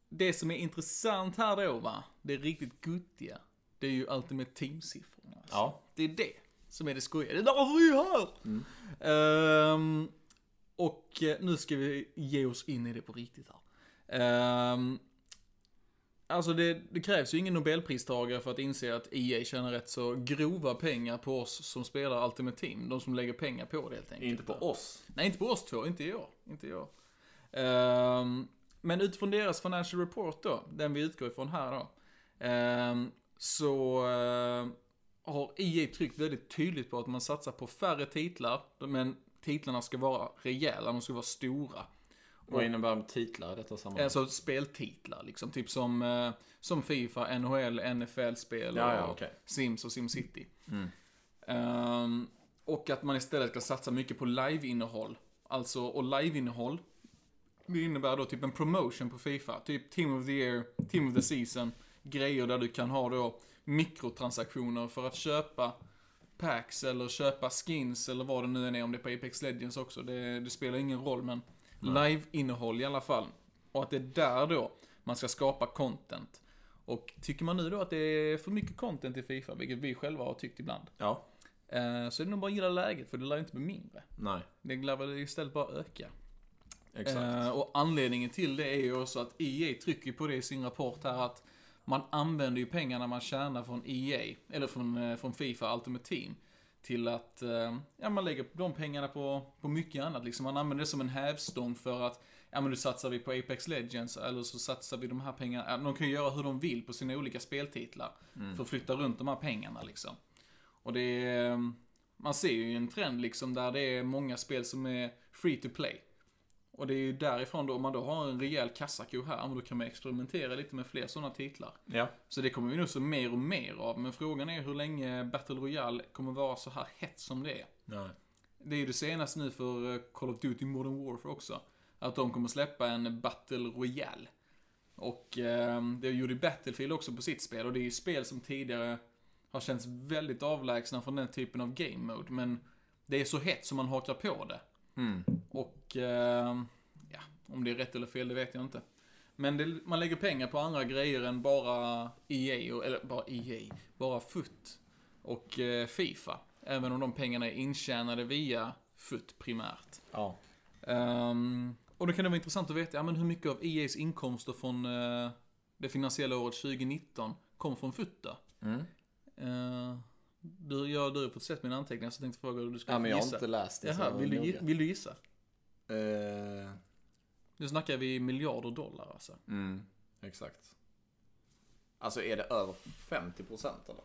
[SPEAKER 3] det som är intressant här då va, det är riktigt guttiga, det är ju Ultimate Team-siffrorna. Alltså.
[SPEAKER 2] Ja.
[SPEAKER 3] Det är det som är det skojiga. Det är därför vi är här! Ehm, och eh, nu ska vi ge oss in i det på riktigt här. Ehm, Alltså det, det krävs ju ingen nobelpristagare för att inse att EA tjänar rätt så grova pengar på oss som spelar Ultimate Team. De som lägger pengar på det helt enkelt.
[SPEAKER 2] Inte på oss.
[SPEAKER 3] Nej, inte på oss två. Inte jag. Inte jag. Ehm, men utifrån deras financial report då, den vi utgår ifrån här då. ehm, så ehm, har EA tryckt väldigt tydligt på att man satsar på färre titlar. Men titlarna ska vara rejäla, de ska vara stora.
[SPEAKER 2] Vad innebär titlar i detta sammanhang?
[SPEAKER 3] Alltså speltitlar liksom. Typ som, eh, som Fifa, NHL, NFL-spel
[SPEAKER 2] Ja, ja,
[SPEAKER 3] och
[SPEAKER 2] okej. Mm.
[SPEAKER 3] Sims och Simcity. Ehm, och att man istället ska satsa mycket på live-innehåll. Alltså, och live-innehåll det innebär då typ en promotion på Fifa. Typ Team of the Year, Team of the Season. Grejer där du kan ha då mikrotransaktioner för att köpa packs eller köpa skins eller vad det nu än är. Om det är på Apex Legends också. Det, det spelar ingen roll men live-innehåll i alla fall. Och att det är där då man ska skapa content. Och tycker man nu då att det är för mycket content i Fifa, vilket vi själva har tyckt ibland.
[SPEAKER 2] Ja.
[SPEAKER 3] Eh, så är det nog bara att gilla läget för det lär ju inte bli mindre.
[SPEAKER 2] Nej.
[SPEAKER 3] Det lär väl istället bara öka.
[SPEAKER 2] Exakt.
[SPEAKER 3] Eh, och anledningen till det är ju också att EA trycker på det i sin rapport här att man använder ju pengarna man tjänar från EA, eller från, eh, från Fifa Ultimate Team, till att eh, ja, man lägger de pengarna på, på mycket annat. Liksom man använder det som en hävstång för att ja, men nu satsar vi på Apex Legends, eller så satsar vi de här pengarna. Ja, De kan ju göra hur de vill på sina olika speltitlar, för att flytta runt de här pengarna liksom. Och det är, eh, man ser ju en trend liksom där det är många spel som är free to play. Och det är ju därifrån då, om man då har en rejäl kassako här, men då kan man experimentera lite med fler sådana titlar.
[SPEAKER 2] ja.
[SPEAKER 3] Så det kommer vi nog se mer och mer av, men frågan är hur länge Battle Royale kommer vara så här hett som det är.
[SPEAKER 2] Nej.
[SPEAKER 3] Det är ju det senaste nu för eh, Call of Duty Modern Warfare också. Att de kommer släppa en Battle Royale. Och eh, det gjorde ju Battlefield också på sitt spel. Och det är ju spel som tidigare har känts väldigt avlägsna från den typen av game mode. Men det är så hett som man hakar på det. Och eh, ja, om det är rätt eller fel, det vet jag inte. Men det, man lägger pengar på andra grejer än bara EA, och- eller bara EA, bara FUT och eh, Fifa. Även om de pengarna är intjänade via FUT primärt.
[SPEAKER 2] Ja.
[SPEAKER 3] Ehm, och då kan det vara intressant att veta, ja, men hur mycket av EAs inkomster från eh, det finansiella året 2019 kom från FUT då? Eh, du, jag du har på ett sätt mina anteckningar så jag tänkte fråga hur du skulle
[SPEAKER 2] ja men jag har
[SPEAKER 3] gissa.
[SPEAKER 2] inte läst det. så
[SPEAKER 3] Jaha, vill du, gi-
[SPEAKER 2] noga.
[SPEAKER 3] vill du gissa?
[SPEAKER 2] Eh,
[SPEAKER 3] Nu snackar vi miljarder dollar alltså.
[SPEAKER 2] mm. Exakt. Alltså är det över 50% eller?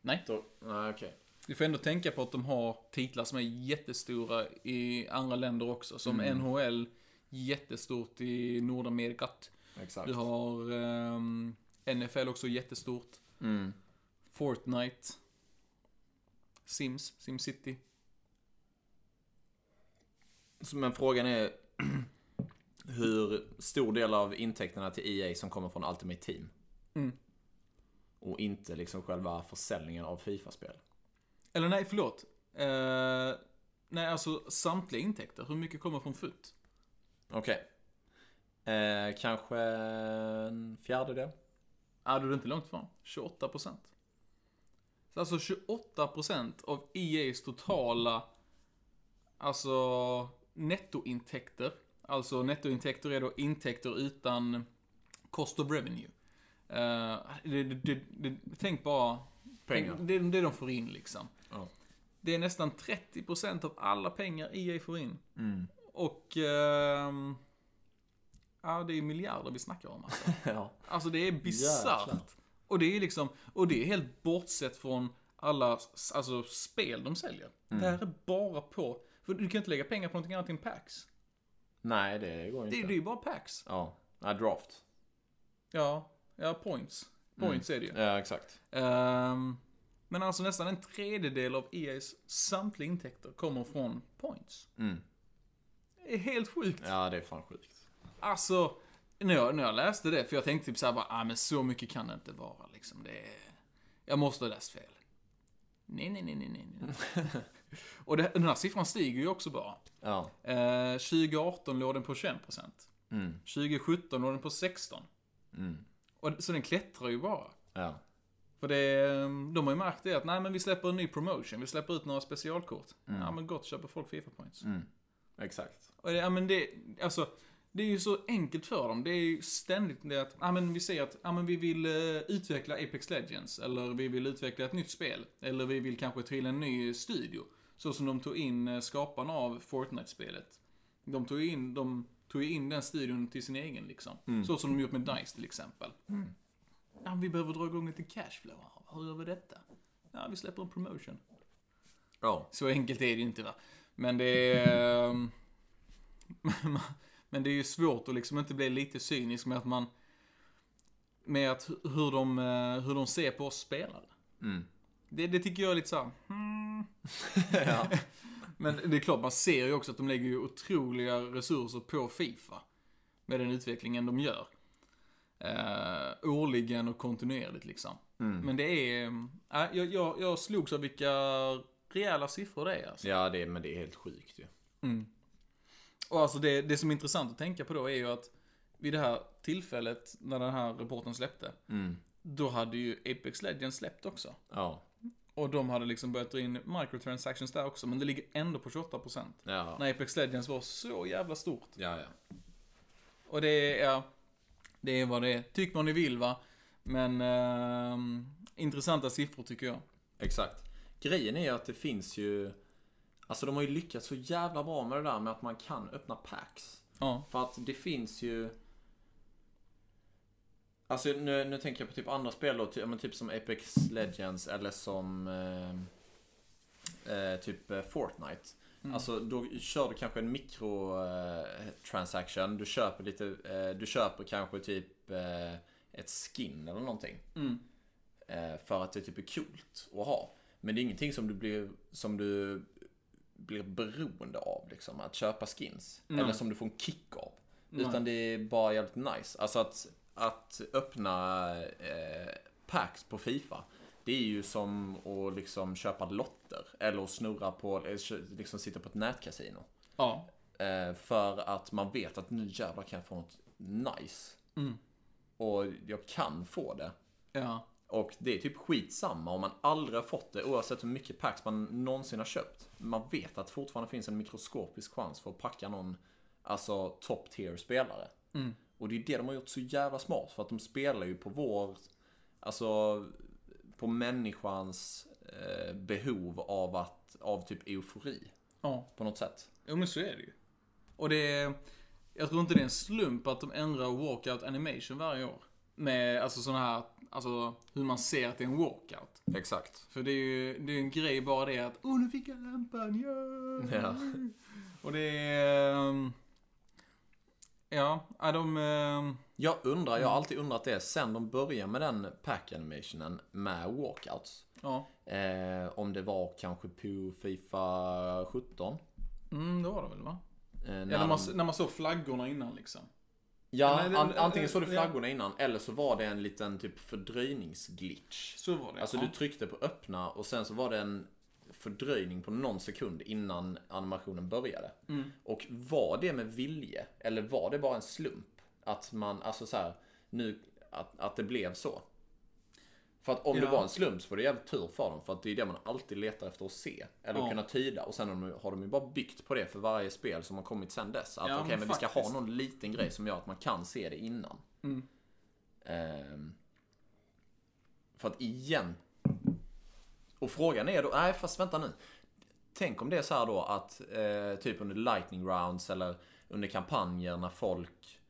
[SPEAKER 3] Nej.
[SPEAKER 2] Då, nej okej.
[SPEAKER 3] Du får ändå tänka på att de har titlar som är jättestora i andra länder också. Som
[SPEAKER 2] Mm.
[SPEAKER 3] NHL, jättestort i Nordamerika.
[SPEAKER 2] Exakt.
[SPEAKER 3] Du har ehm, NFL också jättestort.
[SPEAKER 2] Mm.
[SPEAKER 3] Fortnite. Sims, Simcity.
[SPEAKER 2] Så, men frågan är hur stor del av intäkterna till EA som kommer från Ultimate Team?
[SPEAKER 3] Mm.
[SPEAKER 2] Och inte liksom själva försäljningen av Fifa-spel.
[SPEAKER 3] Eller nej, förlåt. Eh, nej, alltså samtliga intäkter. Hur mycket kommer från FUT?
[SPEAKER 2] Okej. Eh, kanske en fjärdedel?
[SPEAKER 3] Ja, då är det inte långt ifrån. 28 procent. Alltså 28 procent av EA's totala alltså nettointäkter. Alltså nettointäkter är då intäkter utan cost of revenue. Eh, det, det, det, det, tänk bara...
[SPEAKER 2] Pengar.
[SPEAKER 3] Tänk, det, är det de får in liksom.
[SPEAKER 2] Ja.
[SPEAKER 3] Det är nästan 30% av alla pengar EA får in. Och... ehm, ja, det är miljarder vi snackar om alltså.
[SPEAKER 2] ja.
[SPEAKER 3] Alltså det är
[SPEAKER 2] Jäklar.
[SPEAKER 3] bisarrt. Och det är liksom, och det är helt bortsett från alla s- alltså, spel de säljer.
[SPEAKER 2] Mm.
[SPEAKER 3] Det här är bara på, för du kan inte lägga pengar på någonting annat än packs.
[SPEAKER 2] Nej, det går inte.
[SPEAKER 3] Det, det är ju bara packs.
[SPEAKER 2] Ja. Nej, draft.
[SPEAKER 3] Ja, ja points. Points är det ju.
[SPEAKER 2] Mm. Ja, exakt.
[SPEAKER 3] Ehm, men alltså nästan en tredjedel av EAs samtliga intäkter kommer från points.
[SPEAKER 2] Mm.
[SPEAKER 3] Det är helt sjukt.
[SPEAKER 2] Ja, det är fan sjukt.
[SPEAKER 3] Alltså, när jag, när jag läste det, för jag tänkte typ såhär bara, ah, men så mycket kan det inte vara liksom. Det är... Jag måste ha läst fel. Nej, nej, nej, nej, nej. nej. Och det, den här siffran stiger ju också bara.
[SPEAKER 2] Ja.
[SPEAKER 3] Eh, 2018 låg den på 21%. 2017 låg den på 16%. Och, så den klättrar ju bara.
[SPEAKER 2] Ja.
[SPEAKER 3] För det, eh, de har ju märkt det att, nej men vi släpper en ny promotion, vi släpper ut några specialkort. Ja men gott, köper folk FIFA points.
[SPEAKER 2] Exakt.
[SPEAKER 3] Och det, ja, men det, alltså, Det är ju så enkelt för dem. Det är ju ständigt det att, ja men vi säger att, ja men vi vill eh, utveckla Apex Legends, eller vi vill utveckla ett nytt spel, eller vi vill kanske till en ny studio. Så som de tog in eh, skaparna av Fortnite-spelet. De tog in, de tog ju in den studion till sin egen liksom. Så som de gjort med DICE till exempel. Ja, men vi behöver dra igång lite cashflow. Hur gör vi detta? Ja, vi släpper en promotion.
[SPEAKER 2] Ja.
[SPEAKER 3] Så enkelt är det ju inte va. Men det är... ehm, men det är ju svårt att liksom inte bli lite cynisk med att man... Med att hu- hur de, eh, hur de ser på oss spelare. Det, det tycker jag är lite såhär... Hmm. Men det är klart, man ser ju också att de lägger ju otroliga resurser på Fifa. Med den utvecklingen de gör. Eh, årligen och kontinuerligt liksom. Men det är... Äh, jag, jag, jag slogs av vilka rejäla siffror det är alltså.
[SPEAKER 2] Ja, det, men det är helt sjukt ju.
[SPEAKER 3] Och alltså det, det som är intressant att tänka på då är ju att vid det här tillfället när den här rapporten släppte, då hade ju Apex Legends släppt också.
[SPEAKER 2] Ja.
[SPEAKER 3] Och de hade liksom börjat dra in microtransactions där också, men det ligger ändå på 28%.
[SPEAKER 2] Ja.
[SPEAKER 3] När Apex Legends var så jävla stort.
[SPEAKER 2] Ja, ja.
[SPEAKER 3] Och det är, det är vad det är. Tyck vad ni vill va. Men ehm, intressanta siffror tycker jag.
[SPEAKER 2] Exakt. Grejen är ju att det finns ju... Alltså de har ju lyckats så jävla bra med det där med att man kan öppna packs.
[SPEAKER 3] Ja.
[SPEAKER 2] För att det finns ju... Alltså nu, nu tänker jag på typ andra spel då, ty- ja, men typ som Apex Legends eller som eh, eh, typ eh, Fortnite. Alltså då kör du kanske en mikro eh, transaction. Du köper lite, eh, du köper kanske typ eh, ett skin eller någonting. Eh, för att det typ är coolt att ha. Men det är ingenting som du blir, som du blir beroende av liksom. Att köpa skins. Eller som du får en kick av. Utan det är bara jävligt nice. Alltså att, att öppna eh, packs på Fifa. Det är ju som att liksom köpa lotter. Eller att snurra på, eller kö- liksom sitta på ett nätkasino.
[SPEAKER 3] Ja.
[SPEAKER 2] Eh, för att man vet att nu jävlar kan jag få något nice. Och jag kan få det.
[SPEAKER 3] Ja.
[SPEAKER 2] Och det är typ skitsamma om man aldrig har fått det oavsett hur mycket packs man någonsin har köpt. Man vet att fortfarande finns en mikroskopisk chans för att packa någon alltså top tier spelare. Och det är det de har gjort så jävla smart för att de spelar ju på vår, alltså på människans eh, behov av att, av typ eufori
[SPEAKER 3] Ja.
[SPEAKER 2] på något sätt.
[SPEAKER 3] Jo men så är det ju. Och det är, jag tror inte det är en slump att de ändrar walkout animation varje år. Med alltså sådana här, alltså hur man ser att det är en walkout.
[SPEAKER 2] Exakt.
[SPEAKER 3] För det är ju det är ju en grej bara det att åh nu fick jag lampan, ja.
[SPEAKER 2] Ja.
[SPEAKER 3] Och det är... ehm, Ja, ja, de... ehm,
[SPEAKER 2] Jag undrar, jag har alltid undrat det sen de började med den pack animationen med walkouts.
[SPEAKER 3] Ja,
[SPEAKER 2] Eh, om det var kanske på Fifa 17.
[SPEAKER 3] mm, det var det väl va?
[SPEAKER 2] Eh, när
[SPEAKER 3] Eller man,
[SPEAKER 2] de-
[SPEAKER 3] när man såg flaggorna innan liksom.
[SPEAKER 2] ja,
[SPEAKER 3] eller-
[SPEAKER 2] an,
[SPEAKER 3] eller-
[SPEAKER 2] antingen såg du
[SPEAKER 3] ja.
[SPEAKER 2] flaggorna innan eller så var det en liten typ fördröjningsglitch.
[SPEAKER 3] Så var det.
[SPEAKER 2] Alltså
[SPEAKER 3] ja.
[SPEAKER 2] du tryckte på öppna och sen så var det en fördröjning på någon sekund innan animationen började.
[SPEAKER 3] Mm.
[SPEAKER 2] Och var det med vilje eller var det bara en slump? Att man, alltså så här, nu, att, att det blev så. För att om det
[SPEAKER 3] Ja.
[SPEAKER 2] var en slump så var det jävligt tur för dem. För att det är det man alltid letar efter att se. Eller
[SPEAKER 3] Ja.
[SPEAKER 2] kunna tyda. Och sen har de, ju- har de ju bara byggt på det för varje spel som har kommit sen dess. Att
[SPEAKER 3] Ja,
[SPEAKER 2] okej,
[SPEAKER 3] men
[SPEAKER 2] men vi ska ha
[SPEAKER 3] faktiskt. Mm.
[SPEAKER 2] någon liten grej som gör att man kan se det innan. Ehm, för att igen. Och frågan är då, nej fast vänta nu. Tänk om det är så här då att eh, typ under lightning rounds eller under kampanjer när folk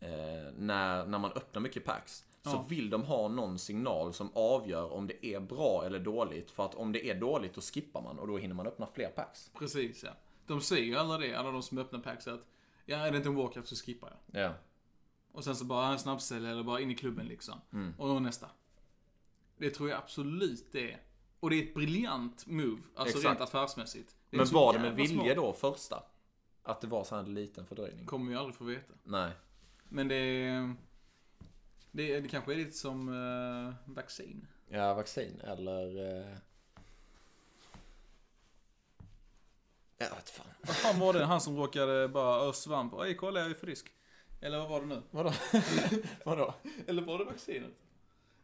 [SPEAKER 2] eh, när, när man öppnar mycket packs så vill de ha någon signal som avgör om det är bra eller dåligt. För att om det är dåligt då skippar man och då hinner man öppna fler packs.
[SPEAKER 3] Precis ja. De säger ju alla det, alla de som öppnar packs att ja, är det inte en walkout så skippar jag.
[SPEAKER 2] Ja.
[SPEAKER 3] Och sen så bara en snabbsälj eller bara in i klubben liksom.
[SPEAKER 2] Mm.
[SPEAKER 3] Och då nästa. Det tror jag absolut det är. Och det är ett briljant move, alltså
[SPEAKER 2] Exakt.
[SPEAKER 3] rent affärsmässigt. är
[SPEAKER 2] Men
[SPEAKER 3] så
[SPEAKER 2] var det med
[SPEAKER 3] jävla
[SPEAKER 2] vilje
[SPEAKER 3] smart.
[SPEAKER 2] då första? Att det var så här en liten fördröjning?
[SPEAKER 3] Kommer vi aldrig få veta.
[SPEAKER 2] Nej.
[SPEAKER 3] Men det är... Det, är, det kanske är lite som eh, vaccin.
[SPEAKER 2] Ja, vaccin eller... Eh... Jag vet fan.
[SPEAKER 3] Vad fan var det han som råkade bara ösa svamp? Oj, kolla jag är frisk. Eller vad var det nu?
[SPEAKER 2] Vadå? Vadå?
[SPEAKER 3] Eller var det vaccinet?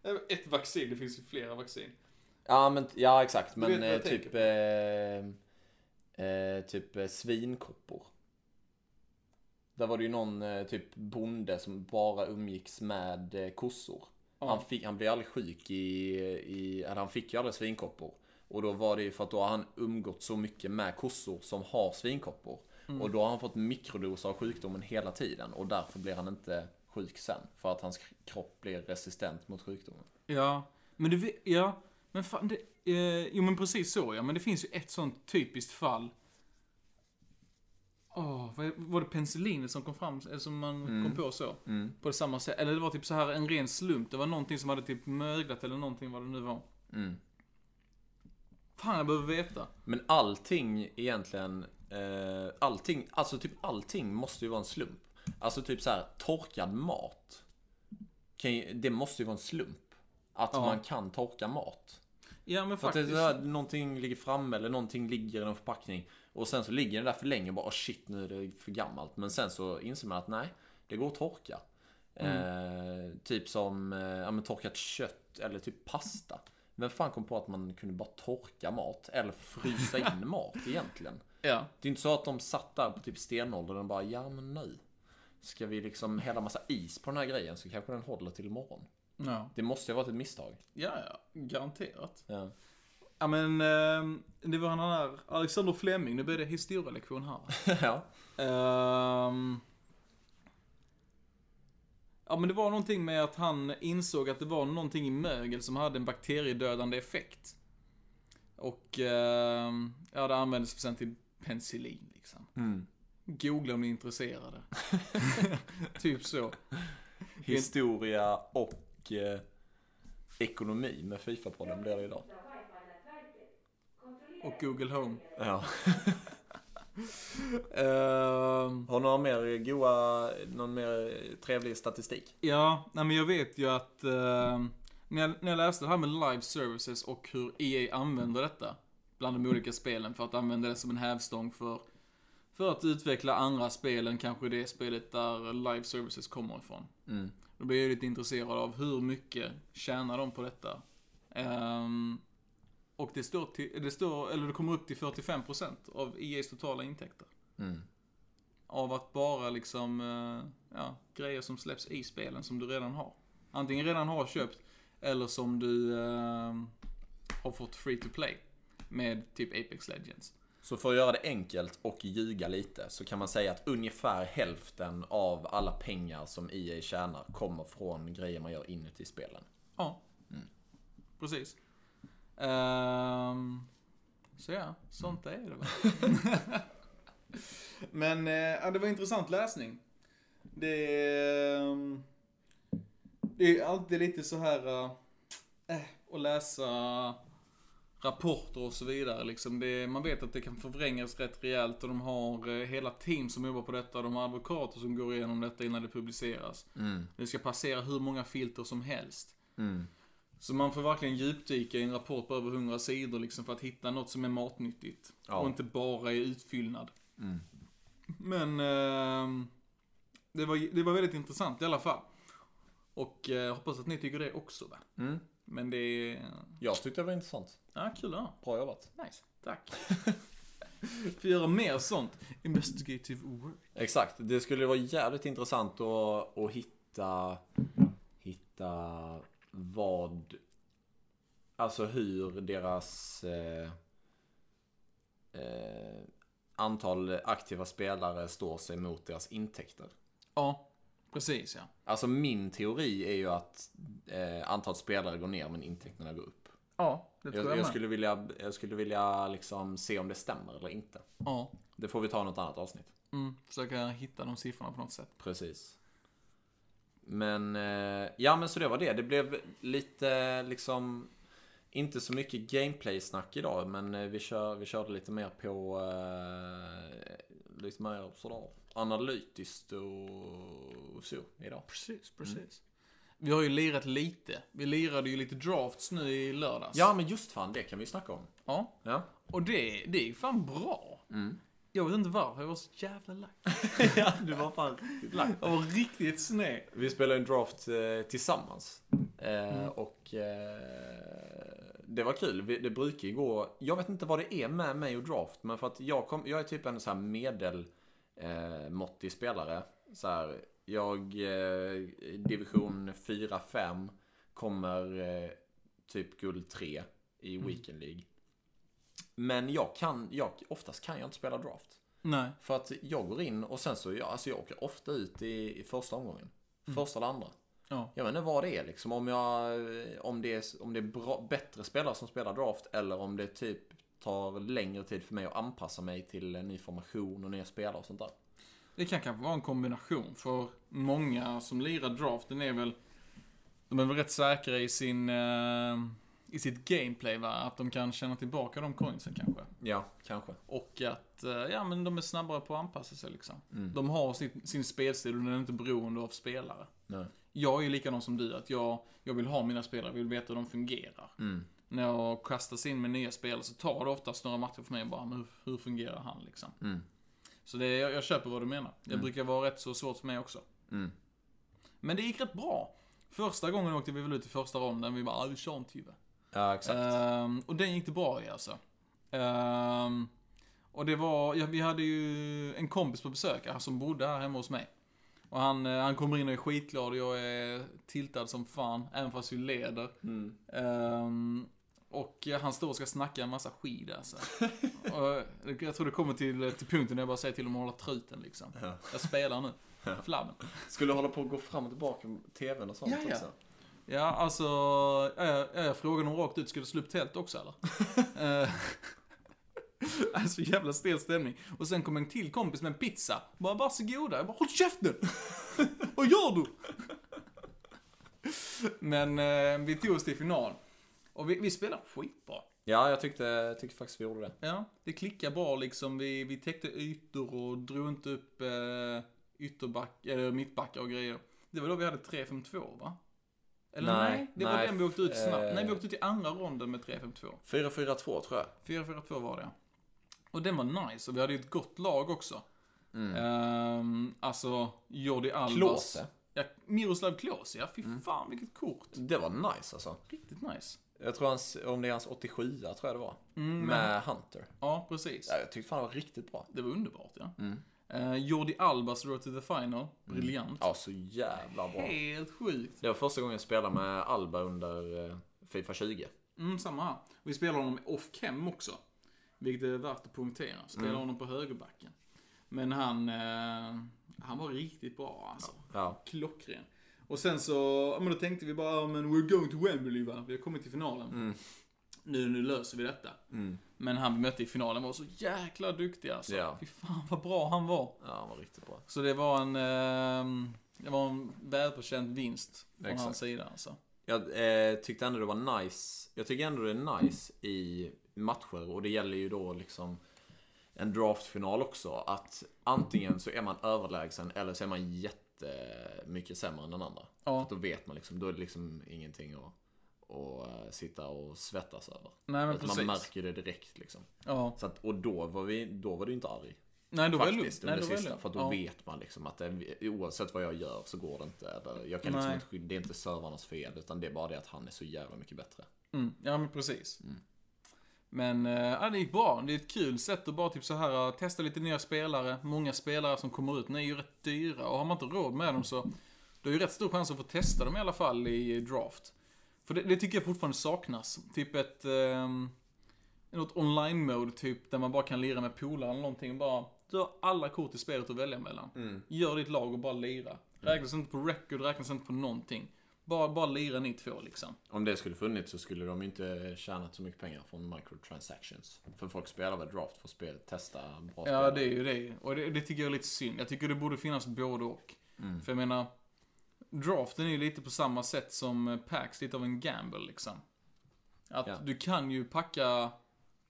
[SPEAKER 3] Eh, Ett vaccin, det finns ju flera vaccin.
[SPEAKER 2] Ja, men, ja exakt. Men
[SPEAKER 3] vet vad jag
[SPEAKER 2] eh, typ...
[SPEAKER 3] tänker
[SPEAKER 2] Eh, eh, typ eh, svinkoppor. Där var det ju någon eh, typ bonde som bara umgicks med eh, kossor. Han, fick, han blev aldrig sjuk i, i, eller han fick ju aldrig svinkoppor. Och då var det ju för att då har han umgått så mycket med kossor som har svinkoppor.
[SPEAKER 3] Mm.
[SPEAKER 2] Och då har han fått mikrodoser av sjukdomen hela tiden och därför blir han inte sjuk sen. För att hans kropp blir resistent mot sjukdomen.
[SPEAKER 3] Ja, men det, vi- ja, men fan, det, eh, jo men precis så ja, men det finns ju ett sånt typiskt fall. Åh, vad var det penicillinet som kom fram, eller som man
[SPEAKER 2] Mm.
[SPEAKER 3] kom på så? På det samma sätt, eller det var typ så här en ren slump, det var någonting som hade typ möglat eller någonting vad det nu var.
[SPEAKER 2] Mm.
[SPEAKER 3] Fan, jag behöver veta.
[SPEAKER 2] Men allting egentligen, eh, allting, alltså typ allting måste ju vara en slump. Alltså typ så här, torkad mat. Kan ju, det måste ju vara en slump. Att man kan torka mat.
[SPEAKER 3] Ja, men
[SPEAKER 2] För att det är
[SPEAKER 3] faktiskt.
[SPEAKER 2] så här, någonting ligger framme eller någonting ligger i någon förpackning. Och sen så ligger den där för länge och bara oh shit nu är det för gammalt. Men sen så inser man att nej, det går att torka. Eh, typ som eh, ja, men torkat kött eller typ pasta. Vem fan kom på att man kunde bara torka mat? Eller frysa in mat egentligen?
[SPEAKER 3] Ja.
[SPEAKER 2] Det är inte så att de satt där på typ stenåldern och bara ja men nej. Ska vi liksom hälla massa is på den här grejen så kanske den håller till imorgon.
[SPEAKER 3] Ja.
[SPEAKER 2] Det måste ju ha varit ett misstag.
[SPEAKER 3] ja, ja, garanterat.
[SPEAKER 2] Ja.
[SPEAKER 3] Ja men, eh, det var han där, Alexander Fleming, nu blir det historielektion här.
[SPEAKER 2] ja.
[SPEAKER 3] Ehm. Ja men det var någonting med att han insåg att det var någonting i mögel som hade en bakteriedödande effekt. Och ehm, ja, det användes sen till penicillin liksom. Googla om ni är intresserade. typ så.
[SPEAKER 2] Historia och eh, ekonomi med Fifa-podden blir det idag.
[SPEAKER 3] Och Google Home.
[SPEAKER 2] Ja.
[SPEAKER 3] Ehm,
[SPEAKER 2] Har du några mer goa, någon mer trevlig statistik?
[SPEAKER 3] Ja, nej men jag vet ju att eh, när, jag, när jag läste det här med live services och hur EA använder detta bland de olika spelen för att använda det som en hävstång för, för att utveckla andra spel än kanske det spelet där live services kommer ifrån. Då blir jag lite intresserad av hur mycket tjänar de på detta? Ehm, och det står, till, det står, eller det kommer upp till 45% av EAs totala intäkter. Av att bara liksom, eh, ja, grejer som släpps i spelen som du redan har. Antingen redan har köpt, eller som du eh, har fått free to play. Med typ Apex Legends.
[SPEAKER 2] Så för att göra det enkelt och ljuga lite så kan man säga att ungefär hälften av alla pengar som EA tjänar kommer från grejer man gör inuti spelen.
[SPEAKER 3] Ja. Precis. Ehm, så ja, sånt är det väl. Men eh, ja, det var intressant läsning. Det är, ehm, det är alltid lite så här eh, att läsa rapporter och så vidare. Liksom det, man vet att det kan förvrängas rätt rejält och de har eh, hela team som jobbar på detta. De har advokater som går igenom detta innan det publiceras. Det ska passera hur många filter som helst. Så man får verkligen djupdyka i en rapport på över 100 sidor liksom för att hitta något som är matnyttigt.
[SPEAKER 2] Ja.
[SPEAKER 3] Och inte bara är utfyllnad. Men ehm, det, var, det var väldigt intressant i alla fall. Och eh, hoppas att ni tycker det också va? Men det är...
[SPEAKER 2] Jag tyckte det var intressant.
[SPEAKER 3] Ja, kul att ha.
[SPEAKER 2] Bra jobbat.
[SPEAKER 3] Nice, tack. Får göra mer sånt. Investigative work.
[SPEAKER 2] Exakt, det skulle vara jävligt intressant att, att hitta, hitta vad, alltså hur deras eh, eh, antal aktiva spelare står sig mot deras intäkter.
[SPEAKER 3] Ja, precis ja.
[SPEAKER 2] Alltså min teori är ju att eh, antalet spelare går ner men intäkterna går upp.
[SPEAKER 3] Ja, det tror jag,
[SPEAKER 2] Jag, jag,
[SPEAKER 3] med.
[SPEAKER 2] skulle, vilja, jag skulle vilja liksom se om det stämmer eller inte.
[SPEAKER 3] Ja,
[SPEAKER 2] Det får vi ta i något annat avsnitt.
[SPEAKER 3] mm, försöka hitta de siffrorna på något sätt.
[SPEAKER 2] Precis. Men, eh, ja men så det var det. Det blev lite liksom inte så mycket gameplay-snack idag, men eh, vi, kör, vi körde lite mer på eh, lite mer sådär analytiskt och, och så idag.
[SPEAKER 3] Precis, precis. Mm. Vi har ju lirat lite. Vi lirade ju lite drafts nu i lördags.
[SPEAKER 2] Ja, men just fan, det kan vi snacka om.
[SPEAKER 3] ja.
[SPEAKER 2] Ja,
[SPEAKER 3] Och det, det är ju fan bra. Jag vet inte varför, jag var så jävla lack.
[SPEAKER 2] ja du var fan riktigt lack.
[SPEAKER 3] Jag var riktigt sned.
[SPEAKER 2] Vi spelade en draft eh, tillsammans. Eh, Och eh, det var kul. Vi, det brukar ju gå... Jag vet inte vad det är med mig och draft. Men för att jag, kom, jag är typ en så här medel eh, måttig spelare. Så här, jag eh, i division 4-5 kommer eh, typ guld 3 i Weekend League. Men jag kan, jag, oftast kan jag inte spela draft.
[SPEAKER 3] Nej.
[SPEAKER 2] För att jag går in och sen så, jag, alltså jag åker ofta ut i, i första omgången. Första eller andra.
[SPEAKER 3] Ja.
[SPEAKER 2] Jag vet inte vad det är liksom. Om, jag, om det är, om det är bra, bättre spelare som spelar draft eller om det typ tar längre tid för mig att anpassa mig till en ny formation och nya spelare och sånt där.
[SPEAKER 3] Det kan kanske vara en kombination, för många som lirar draften är väl... De är väl rätt säkra i sin... eh, I sitt gameplay, va? Att de kan känna tillbaka de coinsen kanske.
[SPEAKER 2] Ja, kanske.
[SPEAKER 3] Och att, eh, ja men de är snabbare på att anpassa sig liksom. De har sin, sin spelstil och den är inte beroende av spelare.
[SPEAKER 2] Nej.
[SPEAKER 3] Jag är ju likadan som du, att jag, jag vill ha mina spelare, jag vill veta hur de fungerar. När jag kastas in med nya spelare så tar det oftast några matcher för mig bara, men hur, hur fungerar han liksom? Så det, jag, jag köper vad du menar. Det brukar vara rätt så svårt för mig också. Men det gick rätt bra. Första gången åkte vi väl ut i första ronden, vi bara, "Ah, vi kör en tyve.
[SPEAKER 2] Ja, exakt.
[SPEAKER 3] Ehm, och den gick det bra i alltså. Ehm, och det var, ja, vi hade ju en kompis på besök han som bodde här hemma hos mig. Och han, eh, han kommer in och är skitglad och jag är tiltad som fan, även fast vi leder. Ehm, och eh, han står och ska snacka en massa skid alltså. och eh, jag tror det kommer till, till punkten när jag bara säger till honom att hålla truten liksom. Jag spelar nu. Flabben.
[SPEAKER 2] Skulle hålla på att gå fram och tillbaka med tvn och sånt
[SPEAKER 3] Ja, ja.
[SPEAKER 2] också.
[SPEAKER 3] Ja, alltså, ja, ja, jag frågade honom rakt ut, ska du slå upp tält också eller? Eh, alltså jävla stel stämning. Och sen kom en till kompis med en pizza. Bara, varsågoda. Jag bara, håll käften! Vad gör du? Men eh, vi tog oss till final. Och vi, vi spelade skitbra.
[SPEAKER 2] Ja, jag tyckte, jag tyckte faktiskt vi gjorde det.
[SPEAKER 3] Ja, det klickade bra liksom. Vi, vi täckte ytor och drog inte upp eh, ytterback, eller mittbackar och grejer. Det var då vi hade 3-5-2 va? Eller nej,
[SPEAKER 2] Nej,
[SPEAKER 3] det var
[SPEAKER 2] nej,
[SPEAKER 3] den vi åkte ut
[SPEAKER 2] eh.
[SPEAKER 3] snabbt. Nej, vi åkte ut i andra ronden med 3-5-2.
[SPEAKER 2] 4-4-2 tror jag.
[SPEAKER 3] 4-4-2 var det. Och den var nice, och vi hade ju ett gott lag också. Ehm, alltså, Jordi Albas.
[SPEAKER 2] Mm. Klose. Mm.
[SPEAKER 3] Ja, Miroslav Klose, ja. Fy fan vilket kort.
[SPEAKER 2] Det var nice alltså.
[SPEAKER 3] Riktigt nice.
[SPEAKER 2] Jag tror hans, om det är hans 87 tror jag det var. med Hunter.
[SPEAKER 3] Ja, precis.
[SPEAKER 2] Ja, Mm. jag tyckte fan det var riktigt bra.
[SPEAKER 3] Det var underbart ja. Eh, Jordi Albas Road to the Final. Briljant.
[SPEAKER 2] Mm. Ja, så jävla bra.
[SPEAKER 3] Helt sjukt.
[SPEAKER 2] Det var första gången jag spelade med Alba under eh, Fifa 20.
[SPEAKER 3] Mm, samma här. Vi spelar honom off-cam också. Vilket är värt att poängtera. Spelar
[SPEAKER 2] Mm.
[SPEAKER 3] honom på högerbacken. Men han, eh, han var riktigt bra alltså.
[SPEAKER 2] Ja.
[SPEAKER 3] Klockren. Och sen så, ja, men då tänkte vi bara, ja, men we're going to Wembley va? Vi har kommit till finalen.
[SPEAKER 2] Mm.
[SPEAKER 3] Nu, nu löser vi detta. Men han vi mötte i finalen var så jäkla duktig alltså.
[SPEAKER 2] Ja.
[SPEAKER 3] Fy fan vad bra han var.
[SPEAKER 2] ja, han var riktigt bra.
[SPEAKER 3] Så det var en, eh, det var en välförtjänt vinst från
[SPEAKER 2] Exakt.
[SPEAKER 3] hans sida alltså.
[SPEAKER 2] Jag eh, tyckte ändå det var nice. Jag tycker ändå det är nice i matcher och det gäller ju då liksom en draftfinal också. Att antingen så är man överlägsen eller så är man jättemycket sämre än den andra.
[SPEAKER 3] Ja.
[SPEAKER 2] För att då vet man liksom, då är det liksom ingenting att, att eh, sitta och svettas över.
[SPEAKER 3] Nej, men
[SPEAKER 2] Att
[SPEAKER 3] precis.
[SPEAKER 2] man märker det direkt liksom.
[SPEAKER 3] Ja.
[SPEAKER 2] Så att, och då var, vi, då var du inte arg.
[SPEAKER 3] Nej, då var jag lugn.
[SPEAKER 2] Faktiskt,
[SPEAKER 3] Nej,
[SPEAKER 2] under
[SPEAKER 3] då var jag
[SPEAKER 2] sista.
[SPEAKER 3] lugn.
[SPEAKER 2] För att då
[SPEAKER 3] Ja.
[SPEAKER 2] vet man liksom att det, oavsett vad jag gör så går det inte. Eller, jag kan liksom
[SPEAKER 3] Nej.
[SPEAKER 2] inte, skydda- det är inte servarnas fel, utan det är bara det att han är så jävla mycket bättre.
[SPEAKER 3] Mm, ja, men precis. Men eh, ja, det gick bra. Det är ett kul sätt att bara typ så här eh, testa lite nya spelare. Många spelare som kommer ut, nu är ju rätt dyra och har man inte råd med dem så du har ju rätt stor chans att få testa dem i alla fall i draft. För det, det tycker jag fortfarande saknas. Typ ett... ehm, något online-mode typ där man bara kan lira med polare eller någonting och bara... Du har alla kort i spelet att välja mellan. Gör ditt lag och bara lira. Räknas inte på record, räknas inte på någonting. Bara, bara lira ni två liksom.
[SPEAKER 2] Om det skulle funnits så skulle de ju inte tjänat så mycket pengar från microtransactions. För folk spelar väl draft för att spela, testa bra
[SPEAKER 3] Ja, det är ju det. Och det, det tycker jag är lite synd. Jag tycker det borde finnas både och.
[SPEAKER 2] Mm.
[SPEAKER 3] För jag menar, draften är ju lite på samma sätt som eh, packs, lite av en gamble liksom. Att
[SPEAKER 2] Ja.
[SPEAKER 3] du kan ju packa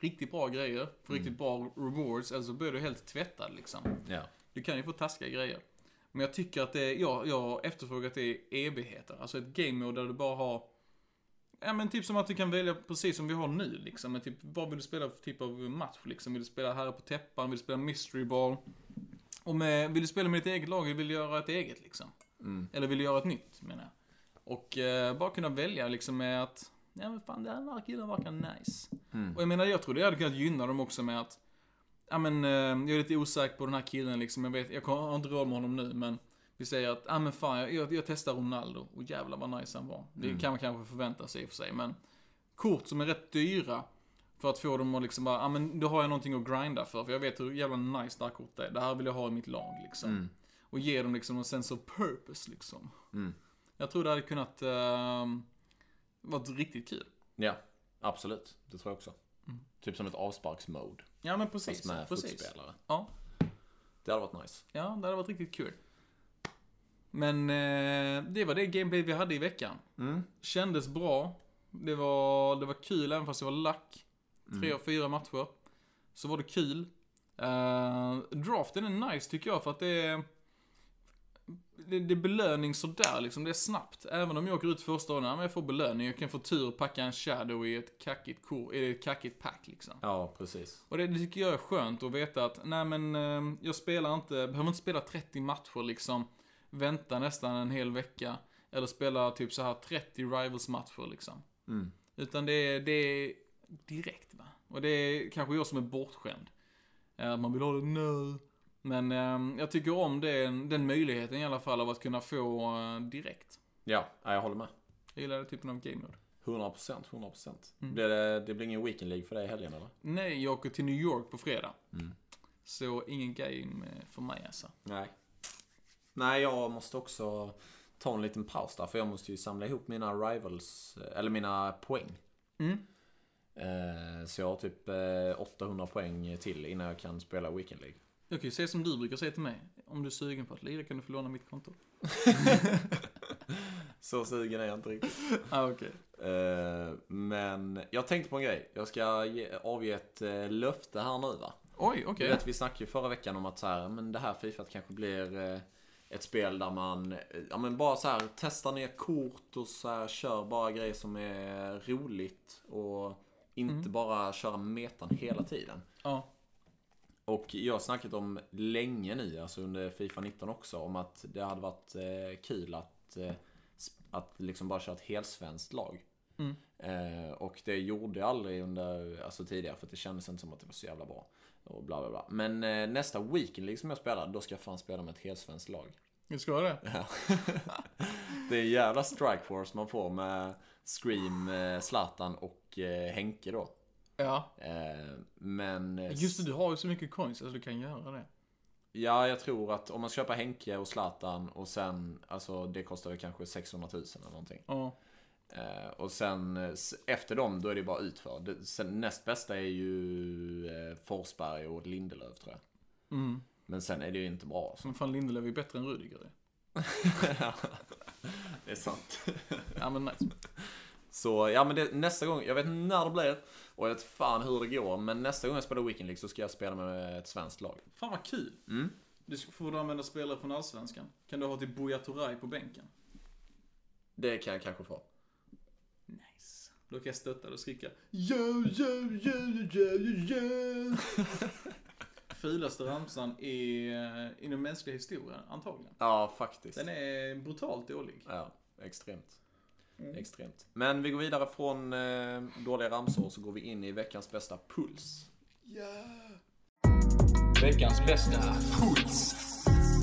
[SPEAKER 3] riktigt bra grejer för
[SPEAKER 2] Mm.
[SPEAKER 3] riktigt bra rewards, eller så blir du helt tvättad liksom.
[SPEAKER 2] Ja.
[SPEAKER 3] Du kan ju få taskiga grejer. Men jag tycker att det, jag, jag har efterfrågat det i evigheter. Alltså ett game mode där du bara har, ja men typ som att du kan välja precis som vi har nu liksom. Men typ, vad vill du spela för typ av match liksom? Vill du spela herre på täppan? Vill du spela mystery ball? Och med, vill du spela med ditt eget lag? Eller vill du göra ett eget liksom? Eller vill du göra ett nytt menar jag. Och eh, bara kunna välja liksom med att, ja men fan den här killen verkar nice. Och jag menar jag tror det hade kunnat gynna dem också med att ja men, eh, jag är lite osäker på den här killen liksom. Jag, vet, jag kommer- har inte råd med honom nu, men vi säger att, ja men fan, jag, jag, jag testar Ronaldo. Och jävlar vad nice han var. Det kan man kanske förvänta sig i och för sig, men kort som är rätt dyra. För att få dem att liksom bara, ja men då har jag någonting att grinda för. För jag vet hur jävla nice det här kortet är. Det här vill jag ha i mitt lag liksom. Och ge dem liksom en sense of purpose liksom. Jag tror det hade kunnat eh, varit riktigt kul.
[SPEAKER 2] Ja, absolut. Det tror jag också. Typ som ett avsparksmode.
[SPEAKER 3] Ja men Mm. precis.
[SPEAKER 2] Fast med
[SPEAKER 3] precis.
[SPEAKER 2] fotspelare.
[SPEAKER 3] Ja,
[SPEAKER 2] Det hade varit nice.
[SPEAKER 3] ja, det hade varit riktigt kul. Men eh, det var det gameplay vi hade i veckan. Kändes bra. Det var, det var kul även fast jag var lack. Tre av fyra matcher. Så var det kul. Eh, draften är nice tycker jag för att det är... Det, det är belöning sådär liksom, det är snabbt. Även om jag åker ut första rundan, ja, men jag får belöning. Jag kan få tur och packa en shadow i ett kackigt, kor, i ett kackigt pack liksom.
[SPEAKER 2] Ja, precis.
[SPEAKER 3] Och det, det tycker jag är skönt att veta att, nej men eh, jag spelar inte, behöver inte spela 30 matcher liksom, vänta nästan en hel vecka, eller spela typ så här 30 Rivals-matcher liksom. Utan det är, det är direkt va. Och det är kanske jag som är bortskämd. Eh, Att man vill ha det nu. Men eh, jag tycker om den, den möjligheten i alla fall av att kunna få eh, direkt.
[SPEAKER 2] Ja, nej, jag håller med.
[SPEAKER 3] Jag gillar den typen av game mode.
[SPEAKER 2] 100%, 100%. Blir det, det blir ingen weekend League för dig i helgen eller?
[SPEAKER 3] Nej, jag åker till New York på fredag. Så ingen game eh, för mig alltså.
[SPEAKER 2] Nej. Nej, jag måste också ta en liten paus där. För jag måste ju samla ihop mina rivals, eller mina poäng.
[SPEAKER 3] Mm.
[SPEAKER 2] Eh, Så jag har typ eh, 800 poäng till innan jag kan spela Weekend League.
[SPEAKER 3] Jag kan ju säga som du brukar säga till mig. Om du är sugen på att lira kan du få låna mitt konto.
[SPEAKER 2] Så sugen är jag inte riktigt.
[SPEAKER 3] Ah, okej.
[SPEAKER 2] Eh, Men jag tänkte på en grej. Jag ska ge- avge ett eh, löfte här nu va.
[SPEAKER 3] Oj,
[SPEAKER 2] Du
[SPEAKER 3] okej.
[SPEAKER 2] vet, vi snackade ju förra veckan om att så här, men det här Fifa kanske blir eh, ett spel där man eh, ja, men bara så här, testar ner kort och så här, kör bara grejer som är roligt och inte bara köra metan hela tiden.
[SPEAKER 3] Ja.
[SPEAKER 2] Och jag har snackat om länge nu, alltså under Fifa 19 också, om att det hade varit eh, kul att, eh, sp- att liksom bara köra ett helsvenskt lag. Eh, och det gjorde jag aldrig under, alltså tidigare för att det kändes inte som att det var så jävla bra. Och bla bla bla. Men eh, nästa weekend liksom jag spelar, då ska jag fan spela med ett helsvenskt lag.
[SPEAKER 3] Vi ska ha det.
[SPEAKER 2] Det är jävla strike force man får med Scream, eh, Zlatan och eh, Henke då.
[SPEAKER 3] Ja.
[SPEAKER 2] Eh, men... eh,
[SPEAKER 3] Just det, du har ju så mycket coins, alltså du kan göra det.
[SPEAKER 2] Ja, jag tror att om man köper Henke och Zlatan och sen, alltså det kostar väl kanske 600 000 eller någonting.
[SPEAKER 3] Ja.
[SPEAKER 2] Eh, och sen eh, s- efter dem, då är det bara utför. Det, sen, näst bästa är ju eh, Forsberg och Lindelöf tror jag.
[SPEAKER 3] Mm.
[SPEAKER 2] Men sen är det ju inte bra. alltså.
[SPEAKER 3] Men fan, Lindelöf är bättre än Rudiger.
[SPEAKER 2] det är sant.
[SPEAKER 3] Ja, men nice.
[SPEAKER 2] Så ja, men det, nästa gång, jag vet inte när det blir och jag vet fan hur det går. Men nästa gång jag spelar Weekend League så ska jag spela med ett svenskt lag.
[SPEAKER 3] Fan vad kul. Du ska- får du använda spelare från Allsvenskan. Kan du ha till Buya Turay på bänken?
[SPEAKER 2] Det kan jag kanske få.
[SPEAKER 3] Nice. Då kan jag stötta dig och skrika Yo, yo, yo, yo, yo, yo. Fulaste ramsan i, eh, i den mänskliga historien, antagligen.
[SPEAKER 2] Ja, faktiskt.
[SPEAKER 3] Den är brutalt dålig.
[SPEAKER 2] Ja, extremt. Extremt. Men vi går vidare från eh, dåliga ramsor så går vi in i veckans bästa puls.
[SPEAKER 4] Veckans bästa puls.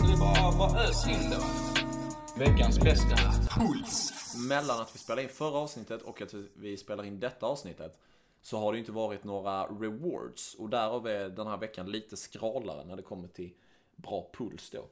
[SPEAKER 4] Du bara, bara ös in då. Veckans bästa puls.
[SPEAKER 2] Mellan att vi spelade in förra avsnittet och att vi spelar in detta avsnittet så har det ju inte varit några rewards och därav är den här veckan lite skralare när det kommer till bra puls då.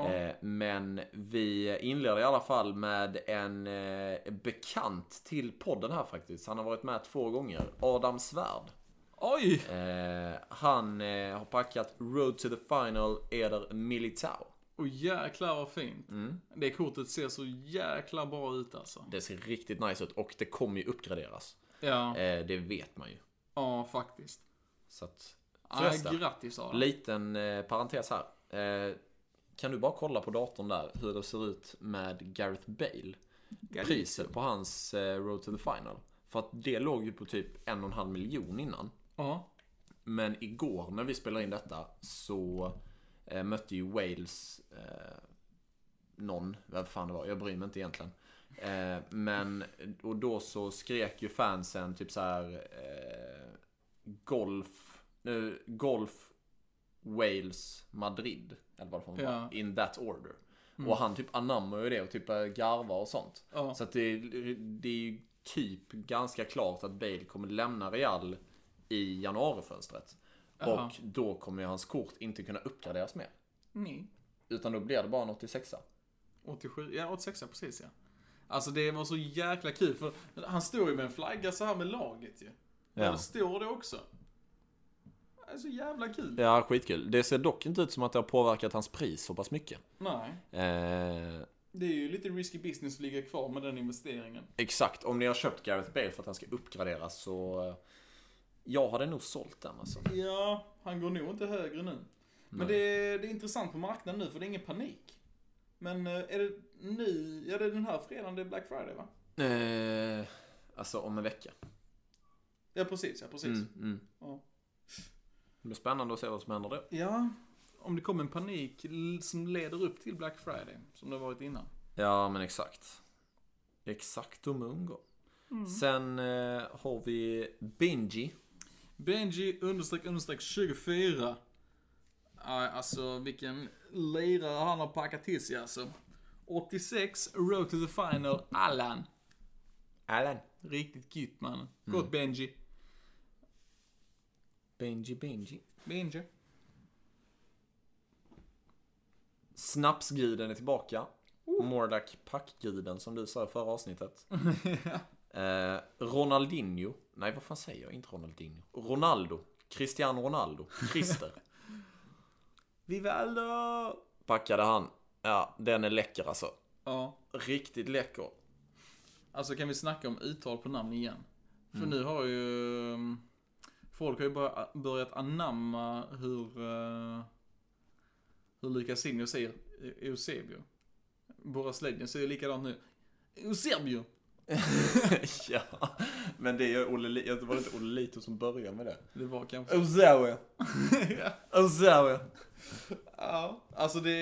[SPEAKER 2] Eh, Men vi inleder i alla fall med en eh, bekant till podden här faktiskt. Han har varit med två gånger. Adam Svärd.
[SPEAKER 3] Oj!
[SPEAKER 2] Eh, han eh, har packat Road to the Final Eder Militao.
[SPEAKER 3] Och jäklar vad fint. Det kortet ser så jäkla bra ut alltså.
[SPEAKER 2] Det ser riktigt nice ut och det kommer ju uppgraderas.
[SPEAKER 3] Ja,
[SPEAKER 2] Eh, det vet man ju.
[SPEAKER 3] ja faktiskt.
[SPEAKER 2] Så att,
[SPEAKER 3] Ja,
[SPEAKER 2] förresten,
[SPEAKER 3] grattis Adam.
[SPEAKER 2] liten eh, parentes här. Eh, kan du bara kolla på datorn där hur det ser ut med Gareth Bale? Priset på hans eh, Road to the Final. För att det låg ju på typ en och en halv miljon innan.
[SPEAKER 3] Ja.
[SPEAKER 2] Men igår när vi spelade in detta så eh, mötte ju Wales eh, någon, vem fan det var, jag bryr mig inte egentligen. Eh, men, och då så skrek ju fansen typ så här eh, golf, nu golf Wales, Madrid. Eller vad det var,
[SPEAKER 3] Ja. Mm.
[SPEAKER 2] In that order. Och han typ anammar ju det och typ börjar garva och sånt.
[SPEAKER 3] Ja.
[SPEAKER 2] Så att det, det är ju typ ganska klart att Bale kommer lämna Real i januarifönstret.
[SPEAKER 3] Jaha.
[SPEAKER 2] Och då kommer ju hans kort inte kunna uppgraderas mer.
[SPEAKER 3] Nej.
[SPEAKER 2] Utan då blir det bara en 86
[SPEAKER 3] 87, ja 86 precis ja. Alltså det var så jäkla kul för han står ju med en flagga så här med laget ju. Ja. Det står det också. Det är så jävla kul.
[SPEAKER 2] Ja, skitkul. Det ser dock inte ut som att det har påverkat hans pris så pass mycket.
[SPEAKER 3] Nej.
[SPEAKER 2] Eh,
[SPEAKER 3] Det är ju lite risky business att ligga kvar med den investeringen.
[SPEAKER 2] exakt, om ni har köpt Gareth Bale för att han ska uppgraderas så... eh, Jag hade nog sålt den alltså.
[SPEAKER 3] Ja, han går nog inte högre nu. Men det, det är intressant på marknaden nu för det är ingen panik. Men eh, är det nu, ja det är den här fredagen det är Black Friday va?
[SPEAKER 2] Eh, alltså om en vecka.
[SPEAKER 3] Ja precis, ja precis.
[SPEAKER 2] Mm, mm.
[SPEAKER 3] Ja.
[SPEAKER 2] Det blir spännande att se vad som händer då.
[SPEAKER 3] Ja, om det kommer en panik l- som leder upp till Black Friday, som det har varit innan.
[SPEAKER 2] Ja, men exakt. Exakt om Mungo. Sen eh, har vi Benji.
[SPEAKER 3] Benji understreck understreck 24. Aj, Alltså vilken lirare han har packat till sig alltså. 86, Road to the Final, Allan.
[SPEAKER 2] Alan.
[SPEAKER 3] Riktigt gött mannen. Gott
[SPEAKER 2] Mm.
[SPEAKER 3] Benji.
[SPEAKER 2] Benji, Benji.
[SPEAKER 3] Benji.
[SPEAKER 2] Snapsguden är tillbaka.
[SPEAKER 3] Oh.
[SPEAKER 2] Mordak Packguden som du sa i förra avsnittet. eh, Ronaldinho. Nej, vad fan säger jag? Inte Ronaldinho. Ronaldo. Cristiano Ronaldo. Christer.
[SPEAKER 3] Vivaldo!
[SPEAKER 2] Packade han. Ja, den är läcker alltså.
[SPEAKER 3] Ja,
[SPEAKER 2] Riktigt läcker.
[SPEAKER 3] alltså kan vi snacka om uttal på namn igen? För nu har ju... mm, Folk har ju bara äh, börjat anamma hur... eh, Hur Lucas Inho säger E- Eusebio. Boras Ledjen säger likadant nu. Eusebio!
[SPEAKER 2] ja, men det är Olle Li- det var inte Olle Lito som började med det.
[SPEAKER 3] Det var kanske...
[SPEAKER 2] Ozawa. Ozawa.
[SPEAKER 3] ja, alltså det...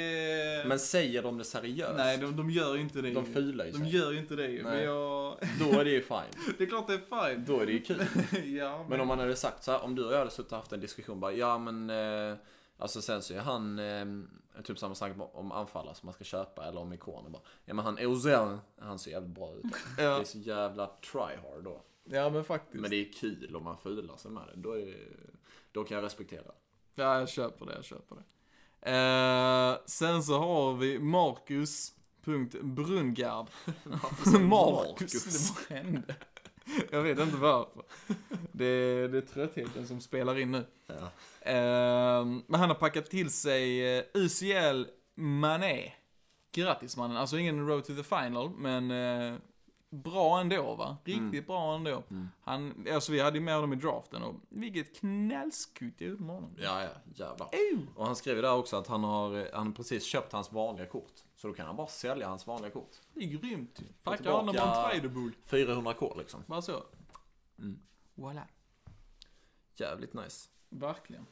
[SPEAKER 2] Men säger de det seriöst?
[SPEAKER 3] Nej, de, de gör ju inte det.
[SPEAKER 2] De
[SPEAKER 3] ju.
[SPEAKER 2] fular ju
[SPEAKER 3] De
[SPEAKER 2] sig.
[SPEAKER 3] gör ju inte det ju. Men
[SPEAKER 2] Nej.
[SPEAKER 3] jag...
[SPEAKER 2] Då är det ju fine.
[SPEAKER 3] det är klart det är fine.
[SPEAKER 2] Då är det ju kul.
[SPEAKER 3] ja, men...
[SPEAKER 2] Men om man hade sagt så här, om du och jag hade suttit och haft en diskussion bara, ja men eh, Alltså sen så är han, eh, typ samma sak om anfallare som man ska köpa eller om ikoner bara. Ja men han Ozil, han ser jävligt bra ut. Det är så jävla tryhard då.
[SPEAKER 3] Ja, men faktiskt.
[SPEAKER 2] Men det är kul om man fular sig med det. Då, är det, då kan jag respektera.
[SPEAKER 3] Ja, jag köper det, jag köper det. Eh, sen så har vi Marcus. Punkt Brungard. Marcus. Det bara hände. Jag vet inte varför. Det, det är tröttheten som spelar in nu.
[SPEAKER 2] Ja.
[SPEAKER 3] Eh, men han har packat till sig eh, UCL Mané. Grattis mannen, alltså ingen road to the final, men eh, bra ändå va? Riktigt bra ändå. Han, alltså vi hade ju med honom i draften och vilket knällskutt jag gjorde med honom.
[SPEAKER 2] Ja, ja, jävlar. Och han skrev ju där också att han har han har precis köpt hans vanliga kort. Så då kan han bara sälja hans vanliga kort.
[SPEAKER 3] Det är grymt ju.
[SPEAKER 2] Få
[SPEAKER 3] Packa
[SPEAKER 2] tillbaka-
[SPEAKER 3] honom på en traderbull.
[SPEAKER 2] 400k liksom.
[SPEAKER 3] Bara så. Mm. Voilà.
[SPEAKER 2] Jävligt nice.
[SPEAKER 3] Verkligen.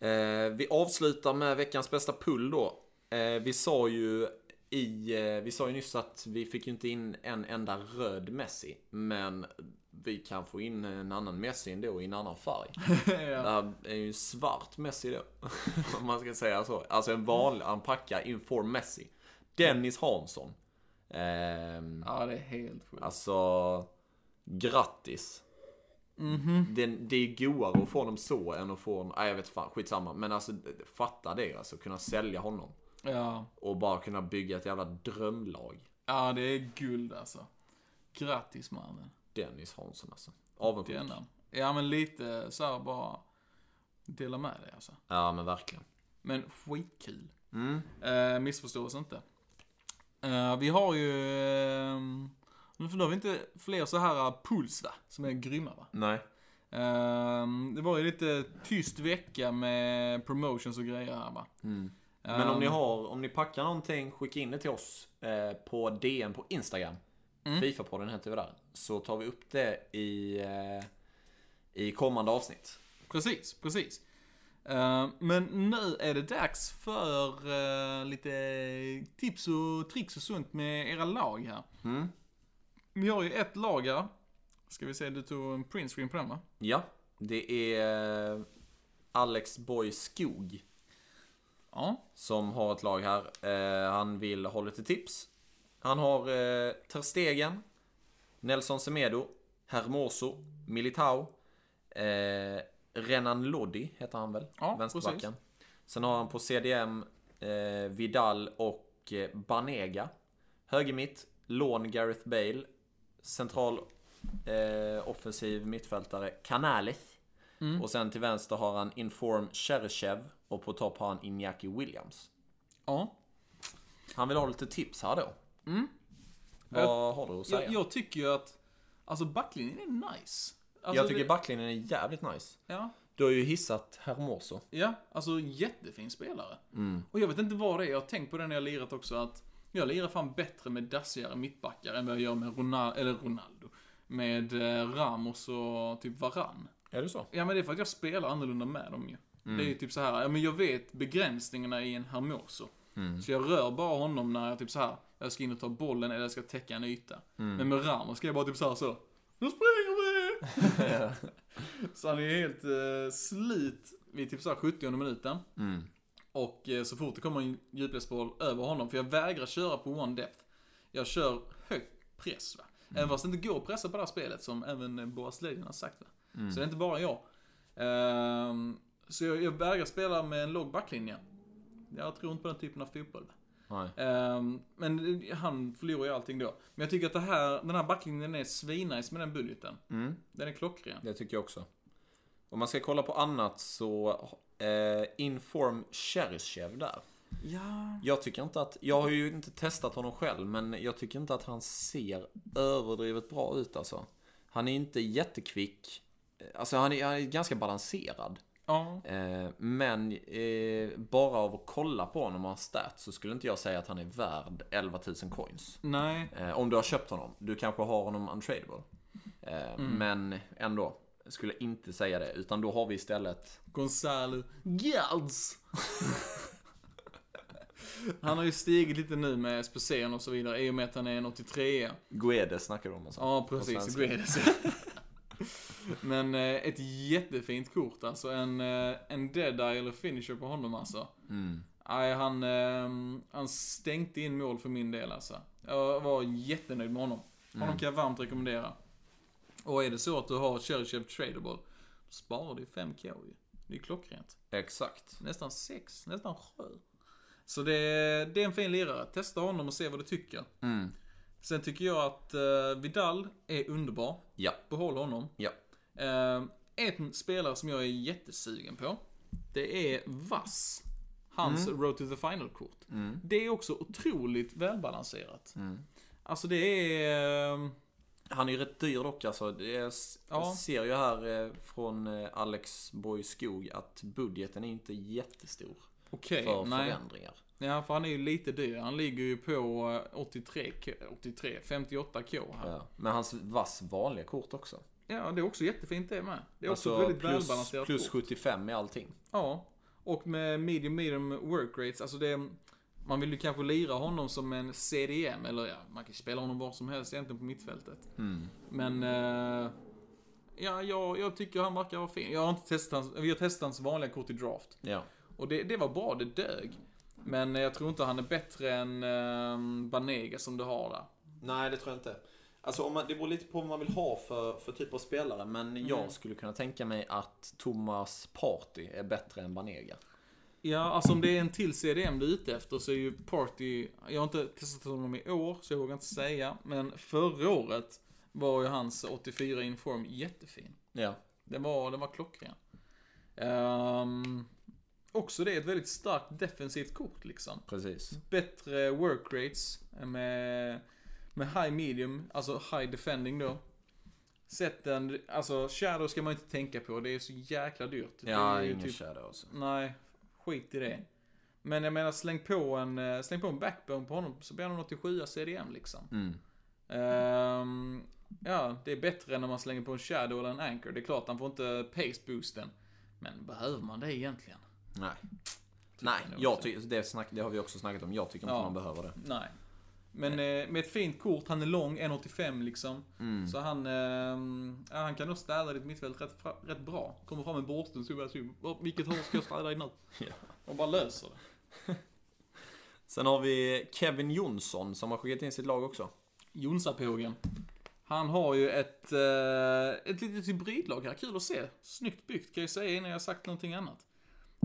[SPEAKER 2] Eh, vi avslutar med veckans bästa pull då. Eh, vi sa ju i, eh, vi sa ju nyss att vi fick ju inte in en enda röd Messi. Men vi kan få in en annan Messi ändå i en annan färg. Det
[SPEAKER 3] ja.
[SPEAKER 2] här är ju en svart Messi då. Om man ska säga så. Alltså en vanlig, han packar inför Messi. Dennis Hansson. Ehm,
[SPEAKER 3] ja, det är helt sjukt.
[SPEAKER 2] Alltså, grattis. Det, det är godare att få honom så än att få honom, nej jag vet fan, skitsamma. Men alltså fatta det alltså, kunna sälja honom.
[SPEAKER 3] Ja.
[SPEAKER 2] Och bara kunna bygga ett jävla drömlag.
[SPEAKER 3] ja, det är guld alltså. Grattis mannen.
[SPEAKER 2] Dennis Hansson alltså. Avundsjuk.
[SPEAKER 3] Denna. Ja, men lite så här bara dela med dig alltså.
[SPEAKER 2] Ja men verkligen.
[SPEAKER 3] Men skitkul. Eh, missförstå oss inte. Eh, vi har ju... Eh, nu har vi inte fler så här eh, puls va? Som är grymma va?
[SPEAKER 2] Nej.
[SPEAKER 3] Ehm, det var ju lite tyst vecka med promotions och grejer här va?
[SPEAKER 2] Men om ni har, om ni packar någonting, skicka in det till oss eh, på DM på Instagram. Fifa-podden heter vi där. Så tar vi upp det i, eh, i kommande avsnitt.
[SPEAKER 3] Precis, precis. Ehm, men nu är det dags för eh, lite tips och tricks och sånt med era lag här. Vi har ju ett lag här. Ska vi se, du tog en printscreen på den va?
[SPEAKER 2] Ja, det är eh, Alex Boy Skog
[SPEAKER 3] Ja.
[SPEAKER 2] som har ett lag här. Eh, han vill ha lite tips. Han har eh, Ter Stegen, Nelson Semedo, Hermoso, Militao, eh, Renan Lodi heter han väl?
[SPEAKER 3] Ja,
[SPEAKER 2] Vänsterbacken. Sen har han på CDM eh, Vidal och eh, Banega. Högermitt, lån Gareth Bale, central eh, offensiv mittfältare Canales. Och sen till vänster har han Inform Cherchev och på topp har han Iñaki Williams.
[SPEAKER 3] Ja.
[SPEAKER 2] Han vill ha lite tips här då. Mm. Vad har du att säga?
[SPEAKER 3] Jag,
[SPEAKER 2] Jag,
[SPEAKER 3] jag tycker ju att, alltså backlinjen är nice. Alltså,
[SPEAKER 2] tycker
[SPEAKER 3] det,
[SPEAKER 2] backlinjen är jävligt nice.
[SPEAKER 3] Ja.
[SPEAKER 2] Du har ju hissat Hermoso.
[SPEAKER 3] Ja, alltså jättefin spelare. Och jag vet inte vad det är, jag har tänkt på det när jag lirat också att jag lirar fan bättre med dassigare mittbackar än vad jag gör med Ronaldo, eller Ronaldo, med eh, Ramos och typ Varann.
[SPEAKER 2] Är det så?
[SPEAKER 3] Ja men det är för att jag spelar annorlunda med dem ju. Det är ju typ så här, ja men jag vet begränsningarna i en Hermoso. Så jag rör bara honom när jag typ så här, jag ska in och ta bollen eller jag ska täcka en yta. Men med Ramos ska jag bara typ så här så, nu springer vi! så han är helt eh, slit vid typ så här 70 minuten. Och eh, så fort det kommer en djupledsboll över honom, för jag vägrar köra på one depth. Jag kör hög press va. Även fast det inte går att pressa på det här spelet som även eh, Boas Ledin har sagt va. Så det är inte bara jag. Ehm, så jag, jag vägrar spela med en låg backlinje. Jag tror inte på den typen av fotboll. va.
[SPEAKER 2] Nej.
[SPEAKER 3] Ehm, men han förlorar ju allting då. Men jag tycker att det här, den här backlinjen är svinnice med den budgeten. Den är klockren.
[SPEAKER 2] Det tycker jag också. Om man ska kolla på annat så eh, Inform Cherchev där.
[SPEAKER 3] Ja.
[SPEAKER 2] Jag tycker inte att, jag har ju inte testat honom själv, men jag tycker inte att han ser överdrivet bra ut alltså. Han är inte jättekvick. Alltså han är, han är ganska balanserad.
[SPEAKER 3] Ja.
[SPEAKER 2] Eh, men eh, bara av att kolla på honom och hans stats så skulle inte jag säga att han är värd 11 000 coins.
[SPEAKER 3] Nej.
[SPEAKER 2] Eh, om du har köpt honom. Du kanske har honom untradeable. Eh,
[SPEAKER 3] Mm.
[SPEAKER 2] Men ändå. Skulle inte säga det. Utan då har vi istället...
[SPEAKER 3] Gonzalo Gals. han har ju stigit lite nu med SPC'n och så vidare i och med att han är en 83
[SPEAKER 2] Guedes snackar du om alltså.
[SPEAKER 3] Ja,
[SPEAKER 2] På
[SPEAKER 3] precis.
[SPEAKER 2] svenska.
[SPEAKER 3] Guedes. Men eh, ett jättefint kort alltså. En, eh, en dead eye eller finisher på honom alltså.
[SPEAKER 2] Mm.
[SPEAKER 3] Nej, han, eh, han stänkte in mål för min del alltså. Jag var jättenöjd med honom. Honom
[SPEAKER 2] Mm.
[SPEAKER 3] kan jag varmt rekommendera. Och är det så att du har Cherchev Tradable, sparar du 5k ju. Det är klockrent.
[SPEAKER 2] Exakt.
[SPEAKER 3] Nästan 6, nästan 7. Så det, det är en fin lirare. Testa honom och se vad du tycker.
[SPEAKER 2] Mm.
[SPEAKER 3] Sen tycker jag att eh, Vidal är underbar.
[SPEAKER 2] Ja.
[SPEAKER 3] Behåll honom.
[SPEAKER 2] Ja.
[SPEAKER 3] Eh, en spelare som jag är jättesugen på. Det är Vass. Hans
[SPEAKER 2] Mm.
[SPEAKER 3] Road to the Final-kort. Det är också otroligt välbalanserat.
[SPEAKER 2] Mm.
[SPEAKER 3] Alltså det är... eh,
[SPEAKER 2] Han är ju rätt dyr dock alltså. Det är,
[SPEAKER 3] Ja.
[SPEAKER 2] Jag ser ju här eh, från eh, Alex Boy Skog att budgeten är inte jättestor.
[SPEAKER 3] Okej,
[SPEAKER 2] För
[SPEAKER 3] nej.
[SPEAKER 2] förändringar.
[SPEAKER 3] Ja, för han är ju lite dyr. Han ligger ju på eh, 83, k- 83 58k här.
[SPEAKER 2] Ja. Men hans vass vanliga kort också.
[SPEAKER 3] Ja, det är också jättefint det med. Det är också
[SPEAKER 2] Alltså,
[SPEAKER 3] ett väldigt
[SPEAKER 2] plus,
[SPEAKER 3] välbalanserat
[SPEAKER 2] plus
[SPEAKER 3] kort.
[SPEAKER 2] 75 i allting.
[SPEAKER 3] Ja, och med medium medium work rates, alltså det... Man vill ju kanske lira honom som en CDM, eller ja, man kan ju spela honom var som helst egentligen på mittfältet.
[SPEAKER 2] Mm.
[SPEAKER 3] Men... eh, ja, jag, jag tycker han verkar vara fin. Jag har inte testat hans, vi har testat hans vanliga kort i draft.
[SPEAKER 2] Ja.
[SPEAKER 3] Och det, det var bra, det dög. Men jag tror inte han är bättre än eh, Banega som du har där.
[SPEAKER 2] Nej, det tror jag inte. Alltså, om man, det beror lite på vad man vill ha för, för typ av spelare. Men
[SPEAKER 3] Mm.
[SPEAKER 2] jag skulle kunna tänka mig att Thomas Party är bättre än Banega.
[SPEAKER 3] Ja, alltså om det är en till CDM du är ute efter så är ju Party, jag har inte testat honom i år så jag vågar inte säga, men förra året var ju hans 84 inform jättefin.
[SPEAKER 2] Ja.
[SPEAKER 3] Den var, den var klockren. Ehm, också det är ett väldigt starkt defensivt kort liksom.
[SPEAKER 2] Precis.
[SPEAKER 3] Bättre work rates med, med high medium, alltså high defending då. Sätten, alltså shadow ska man inte tänka på, det är så jäkla dyrt.
[SPEAKER 2] Ja,
[SPEAKER 3] det är ju
[SPEAKER 2] ingen
[SPEAKER 3] typ-
[SPEAKER 2] shadow alltså.
[SPEAKER 3] Nej, skit i det. Men jag menar, släng på en, eh, släng på en backbone på honom så blir han en 87 CDM liksom. Ehm, ja, det är bättre än när man slänger på en shadow eller en anchor. Det är klart, han får inte pace boosten. Men behöver man det egentligen?
[SPEAKER 2] Nej. Nej,
[SPEAKER 3] jag nog
[SPEAKER 2] jag
[SPEAKER 3] inte.
[SPEAKER 2] ty- det, snack, det har vi också snackat om. Jag tycker inte
[SPEAKER 3] Ja.
[SPEAKER 2] man behöver det.
[SPEAKER 3] Nej. Men eh, med ett fint kort, han är lång, 1,85 liksom. Så han, ehm, ja, han kan nog städa ditt mittfält rätt, fra- rätt bra. Kommer fram med borsten så bara, typ, "Åh, vilket hål ska jag städa i nu?
[SPEAKER 2] Ja.
[SPEAKER 3] Och bara löser det.
[SPEAKER 2] Sen har vi Kevin Jonsson som har skickat in sitt lag också.
[SPEAKER 3] Jonsapågen. Han har ju ett, eh, ett litet hybridlag här, kul att se. Snyggt byggt kan jag säga innan jag sagt någonting annat.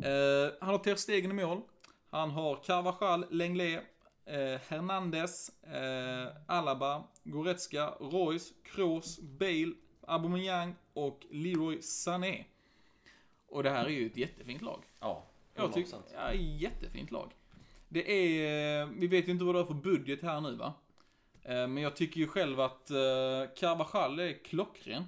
[SPEAKER 3] Eh, han har Ter Stegen i mål. Han har Carvajal, Lenglet, eh, Hernandez, eh, Alaba, Goretzka, Royce, Kroos, Bale, Aubameyang och Leroy Sané. Och det här är ju ett jättefint lag.
[SPEAKER 2] Ja,
[SPEAKER 3] Jag tycker, ja, jättefint lag. Det är, eh, vi vet ju inte vad det är för budget här nu va? Eh, Men jag tycker ju själv att eh, Carvajal är klockren.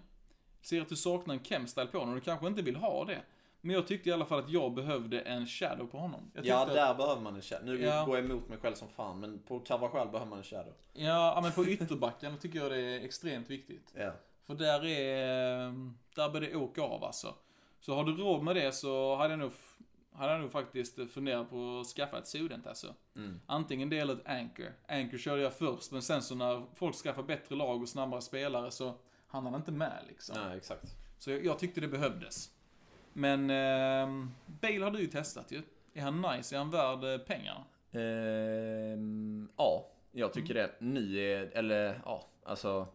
[SPEAKER 3] Ser att du saknar en chemstyle på honom, du kanske inte vill ha det. Men jag tyckte i alla fall att jag behövde en shadow på honom. Jag
[SPEAKER 2] Ja,
[SPEAKER 3] tyckte att-
[SPEAKER 2] där behöver man en shadow. Nu
[SPEAKER 3] Ja.
[SPEAKER 2] går jag emot mig själv som fan, men på Carvajal behöver man en shadow.
[SPEAKER 3] ja, men på ytterbacken tycker jag det är extremt viktigt.
[SPEAKER 2] Ja.
[SPEAKER 3] För där är... ehm, Där börjar det åka av alltså. Så har du råd med det så hade jag nog, hade jag nog faktiskt funderat på att skaffa ett sådant alltså. Antingen det eller ett anchor. Anchor körde jag först, men sen så när folk skaffar bättre lag och snabbare spelare så hann han inte med liksom.
[SPEAKER 2] Nej, exakt.
[SPEAKER 3] Så jag, jag tyckte det behövdes. Men eh, Bale har du ju testat ju. Är han nice? Är han värd eh, pengar?
[SPEAKER 2] Ehm, ja, jag tycker det. Ni är, eller ja, alltså.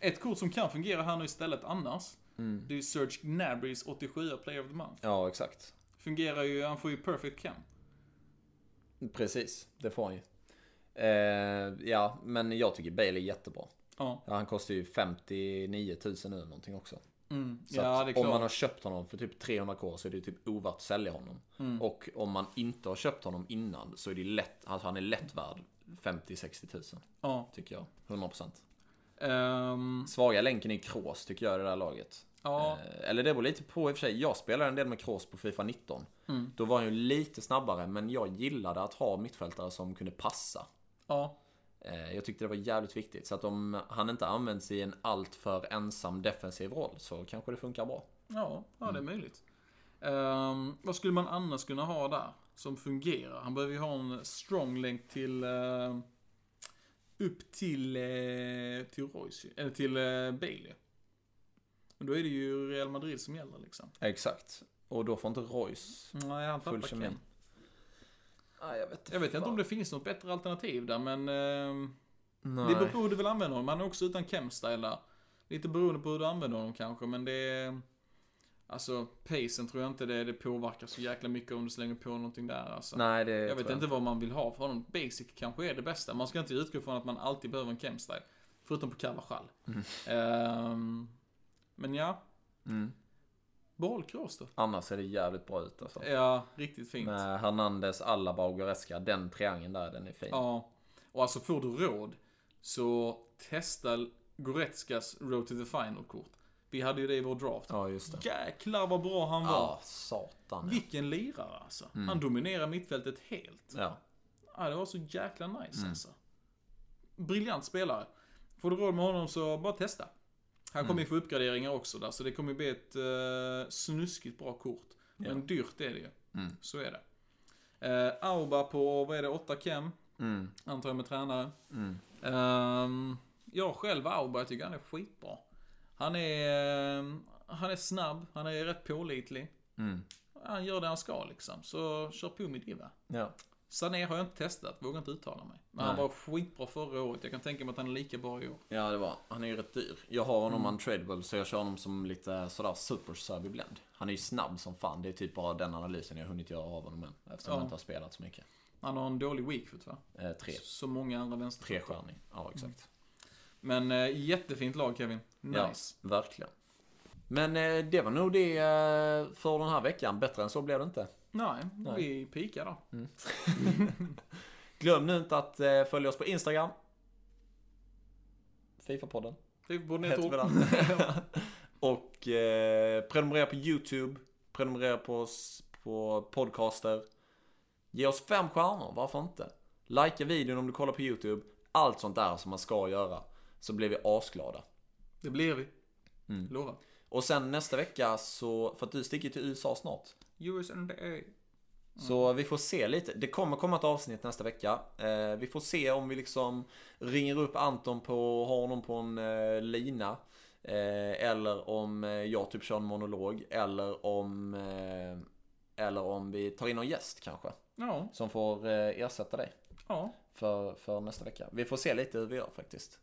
[SPEAKER 3] Ett kort som kan fungera här nu istället annars, det är ju Serge Gnabrys 87 Player of the Month.
[SPEAKER 2] Ja, exakt.
[SPEAKER 3] Fungerar ju, han får ju perfect cam.
[SPEAKER 2] Precis, det får han ju. Ehm, ja, men jag tycker Bale är jättebra.
[SPEAKER 3] Ja.
[SPEAKER 2] Ja, han kostar ju 59 000 nu någonting också.
[SPEAKER 3] Mm.
[SPEAKER 2] Så
[SPEAKER 3] ja,
[SPEAKER 2] att
[SPEAKER 3] det är
[SPEAKER 2] om
[SPEAKER 3] klart.
[SPEAKER 2] man har köpt honom för typ 300k så är det typ ovärt att sälja honom.
[SPEAKER 3] Mm.
[SPEAKER 2] Och om man inte har köpt honom innan så är det lätt, alltså han är lätt värd 50-60 000
[SPEAKER 3] ja.
[SPEAKER 2] tycker jag. 100%.
[SPEAKER 3] Ehm,
[SPEAKER 2] Svaga länken är Kroos tycker jag i det där laget.
[SPEAKER 3] ja.
[SPEAKER 2] Eh, Eller det beror lite på i och för sig. Jag spelar en del med Kroos på Fifa 19.
[SPEAKER 3] Mm.
[SPEAKER 2] Då var han ju lite snabbare men jag gillade att ha mittfältare som kunde passa.
[SPEAKER 3] ja.
[SPEAKER 2] Eh, Jag tyckte det var jävligt viktigt. Så att om han inte används i en alltför ensam defensiv roll så kanske det funkar bra.
[SPEAKER 3] Ja, ja det
[SPEAKER 2] Mm.
[SPEAKER 3] är möjligt. Ehm, vad skulle man annars kunna ha där som fungerar? Han behöver ju ha en strong länk till... eh, upp till... eh, till Royce, ju. eller till uh, Bailey. Men då är det ju Real Madrid som gäller liksom.
[SPEAKER 2] Exakt. Och då får inte Royce
[SPEAKER 3] Nej, han
[SPEAKER 2] full
[SPEAKER 3] tappar
[SPEAKER 2] kemin.
[SPEAKER 3] Ken.
[SPEAKER 2] Nej, Ah, jag vet,
[SPEAKER 3] Jag vet inte om det finns något bättre alternativ där, men... ehm, Det beror på hur du vill använda honom. Han är också utan chemstyle där. Lite beroende på hur du använder honom kanske, men det är... Alltså, pacen tror jag inte det, det påverkar så jäkla mycket om du slänger på någonting där alltså.
[SPEAKER 2] Nej, det
[SPEAKER 3] jag
[SPEAKER 2] tror
[SPEAKER 3] vet inte vad man vill ha för honom. Basic kanske är det bästa. Man ska inte utgå från att man alltid behöver en chemstyle. Förutom på Carvajal. Ehm, men ja.
[SPEAKER 2] Mm.
[SPEAKER 3] Behåll Kroos då.
[SPEAKER 2] Annars ser det jävligt bra ut alltså.
[SPEAKER 3] Ja, riktigt fint.
[SPEAKER 2] Med Hernandez, Alaba och Goretzka. Den triangeln där, den är fin.
[SPEAKER 3] Ja. Och alltså får du råd, så testa Goretzkas Road to the Final-kort. Vi hade ju det i vår draft.
[SPEAKER 2] Ja, just det.
[SPEAKER 3] Jäklar vad bra han var.
[SPEAKER 2] Ja, Mm. satan. ja.
[SPEAKER 3] Vilken lirare alltså. Han dominerar mittfältet helt.
[SPEAKER 2] Ja.
[SPEAKER 3] Ja, det var så jäkla nice
[SPEAKER 2] Mm.
[SPEAKER 3] alltså. Briljant spelare. Får du råd med honom så bara testa. Han kommer ju
[SPEAKER 2] Mm.
[SPEAKER 3] få uppgraderingar också där, så det kommer ju bli ett eh, snuskigt bra kort. Men dyrt är det ju.
[SPEAKER 2] Mm.
[SPEAKER 3] Så är det. Eh, Auba på, vad är det, 8 cam?
[SPEAKER 2] Mm.
[SPEAKER 3] Antar jag med tränare. Ehm, jag själv, Auba, jag tycker han är skitbra. Han är, ehm, han är snabb, han är rätt pålitlig.
[SPEAKER 2] Mm.
[SPEAKER 3] Han gör det han ska liksom, så kör på med det va.
[SPEAKER 2] Ja.
[SPEAKER 3] Sané har jag inte testat, vågar inte uttala mig. Men han var skitbra förra året, jag kan tänka mig att han är lika bra i år.
[SPEAKER 2] ja, det var Han är ju rätt dyr. Jag har honom
[SPEAKER 3] Mm.
[SPEAKER 2] untradeable så jag kör honom som lite sådär super blend. Han är ju snabb som fan. Det är typ bara den analysen jag har hunnit göra av honom än. Eftersom
[SPEAKER 3] Ja.
[SPEAKER 2] jag inte har spelat så mycket.
[SPEAKER 3] Han har en dålig weakfoot va?
[SPEAKER 2] Eh, tre.
[SPEAKER 3] Som många andra vänsterfötter.
[SPEAKER 2] Trestjärnig.
[SPEAKER 3] Mm.
[SPEAKER 2] Ja, exakt.
[SPEAKER 3] Men eh, jättefint lag Kevin. Nice.
[SPEAKER 2] Ja, verkligen. Men eh, det var nog det eh, för den här veckan. Bättre än så blev det inte.
[SPEAKER 3] Nej, vi pikar då.
[SPEAKER 2] Glöm nu inte att eh, följa oss på Instagram. Fifa-podden.
[SPEAKER 3] Det borde ni
[SPEAKER 2] Heter vi
[SPEAKER 3] tro.
[SPEAKER 2] där. Och eh, prenumerera på YouTube. Prenumerera på oss på podcaster. Ge oss fem stjärnor, varför inte? Likea videon om du kollar på YouTube. Allt sånt där som man ska göra. Så blir vi asglada.
[SPEAKER 3] Det blir vi.
[SPEAKER 2] Mm.
[SPEAKER 3] Lova.
[SPEAKER 2] Och sen nästa vecka så, för att du sticker till USA snart.
[SPEAKER 3] US and the A.
[SPEAKER 2] Så vi får se lite. Det kommer komma ett avsnitt nästa vecka. Eh, vi får se om vi liksom ringer upp Anton på, har honom på en eh, lina. Eh, eller om eh, jag typ kör en monolog. Eller om, eh, eller om vi tar in någon gäst kanske.
[SPEAKER 3] Ja,
[SPEAKER 2] Som får eh, ersätta dig
[SPEAKER 3] ja.
[SPEAKER 2] för, för nästa vecka. Vi får se lite hur vi gör faktiskt.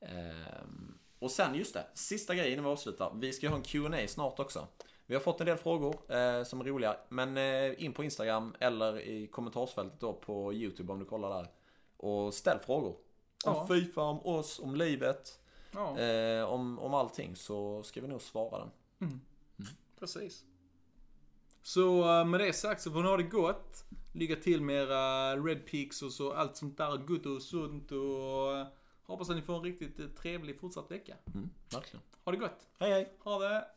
[SPEAKER 2] Ehm, och sen just det, sista grejen innan vi avslutar. Vi ska ju ha en Q&A snart också. Vi har fått en del frågor eh, som är roliga. Men eh, in på Instagram eller i kommentarsfältet då på YouTube om du kollar där. Och ställ frågor. Om
[SPEAKER 3] Ja.
[SPEAKER 2] FIFA, om oss, om livet,
[SPEAKER 3] ja.
[SPEAKER 2] eh, om, om allting så ska vi nog svara den.
[SPEAKER 3] Precis. Så eh, med det sagt så får ni ha det gott. Lycka till med era Red Peaks och så allt sånt där gott och sunt och eh, hoppas att ni får en riktigt eh, trevlig fortsatt vecka.
[SPEAKER 2] Verkligen.
[SPEAKER 3] Ha det gott!
[SPEAKER 2] Hej hej!
[SPEAKER 3] Ha det!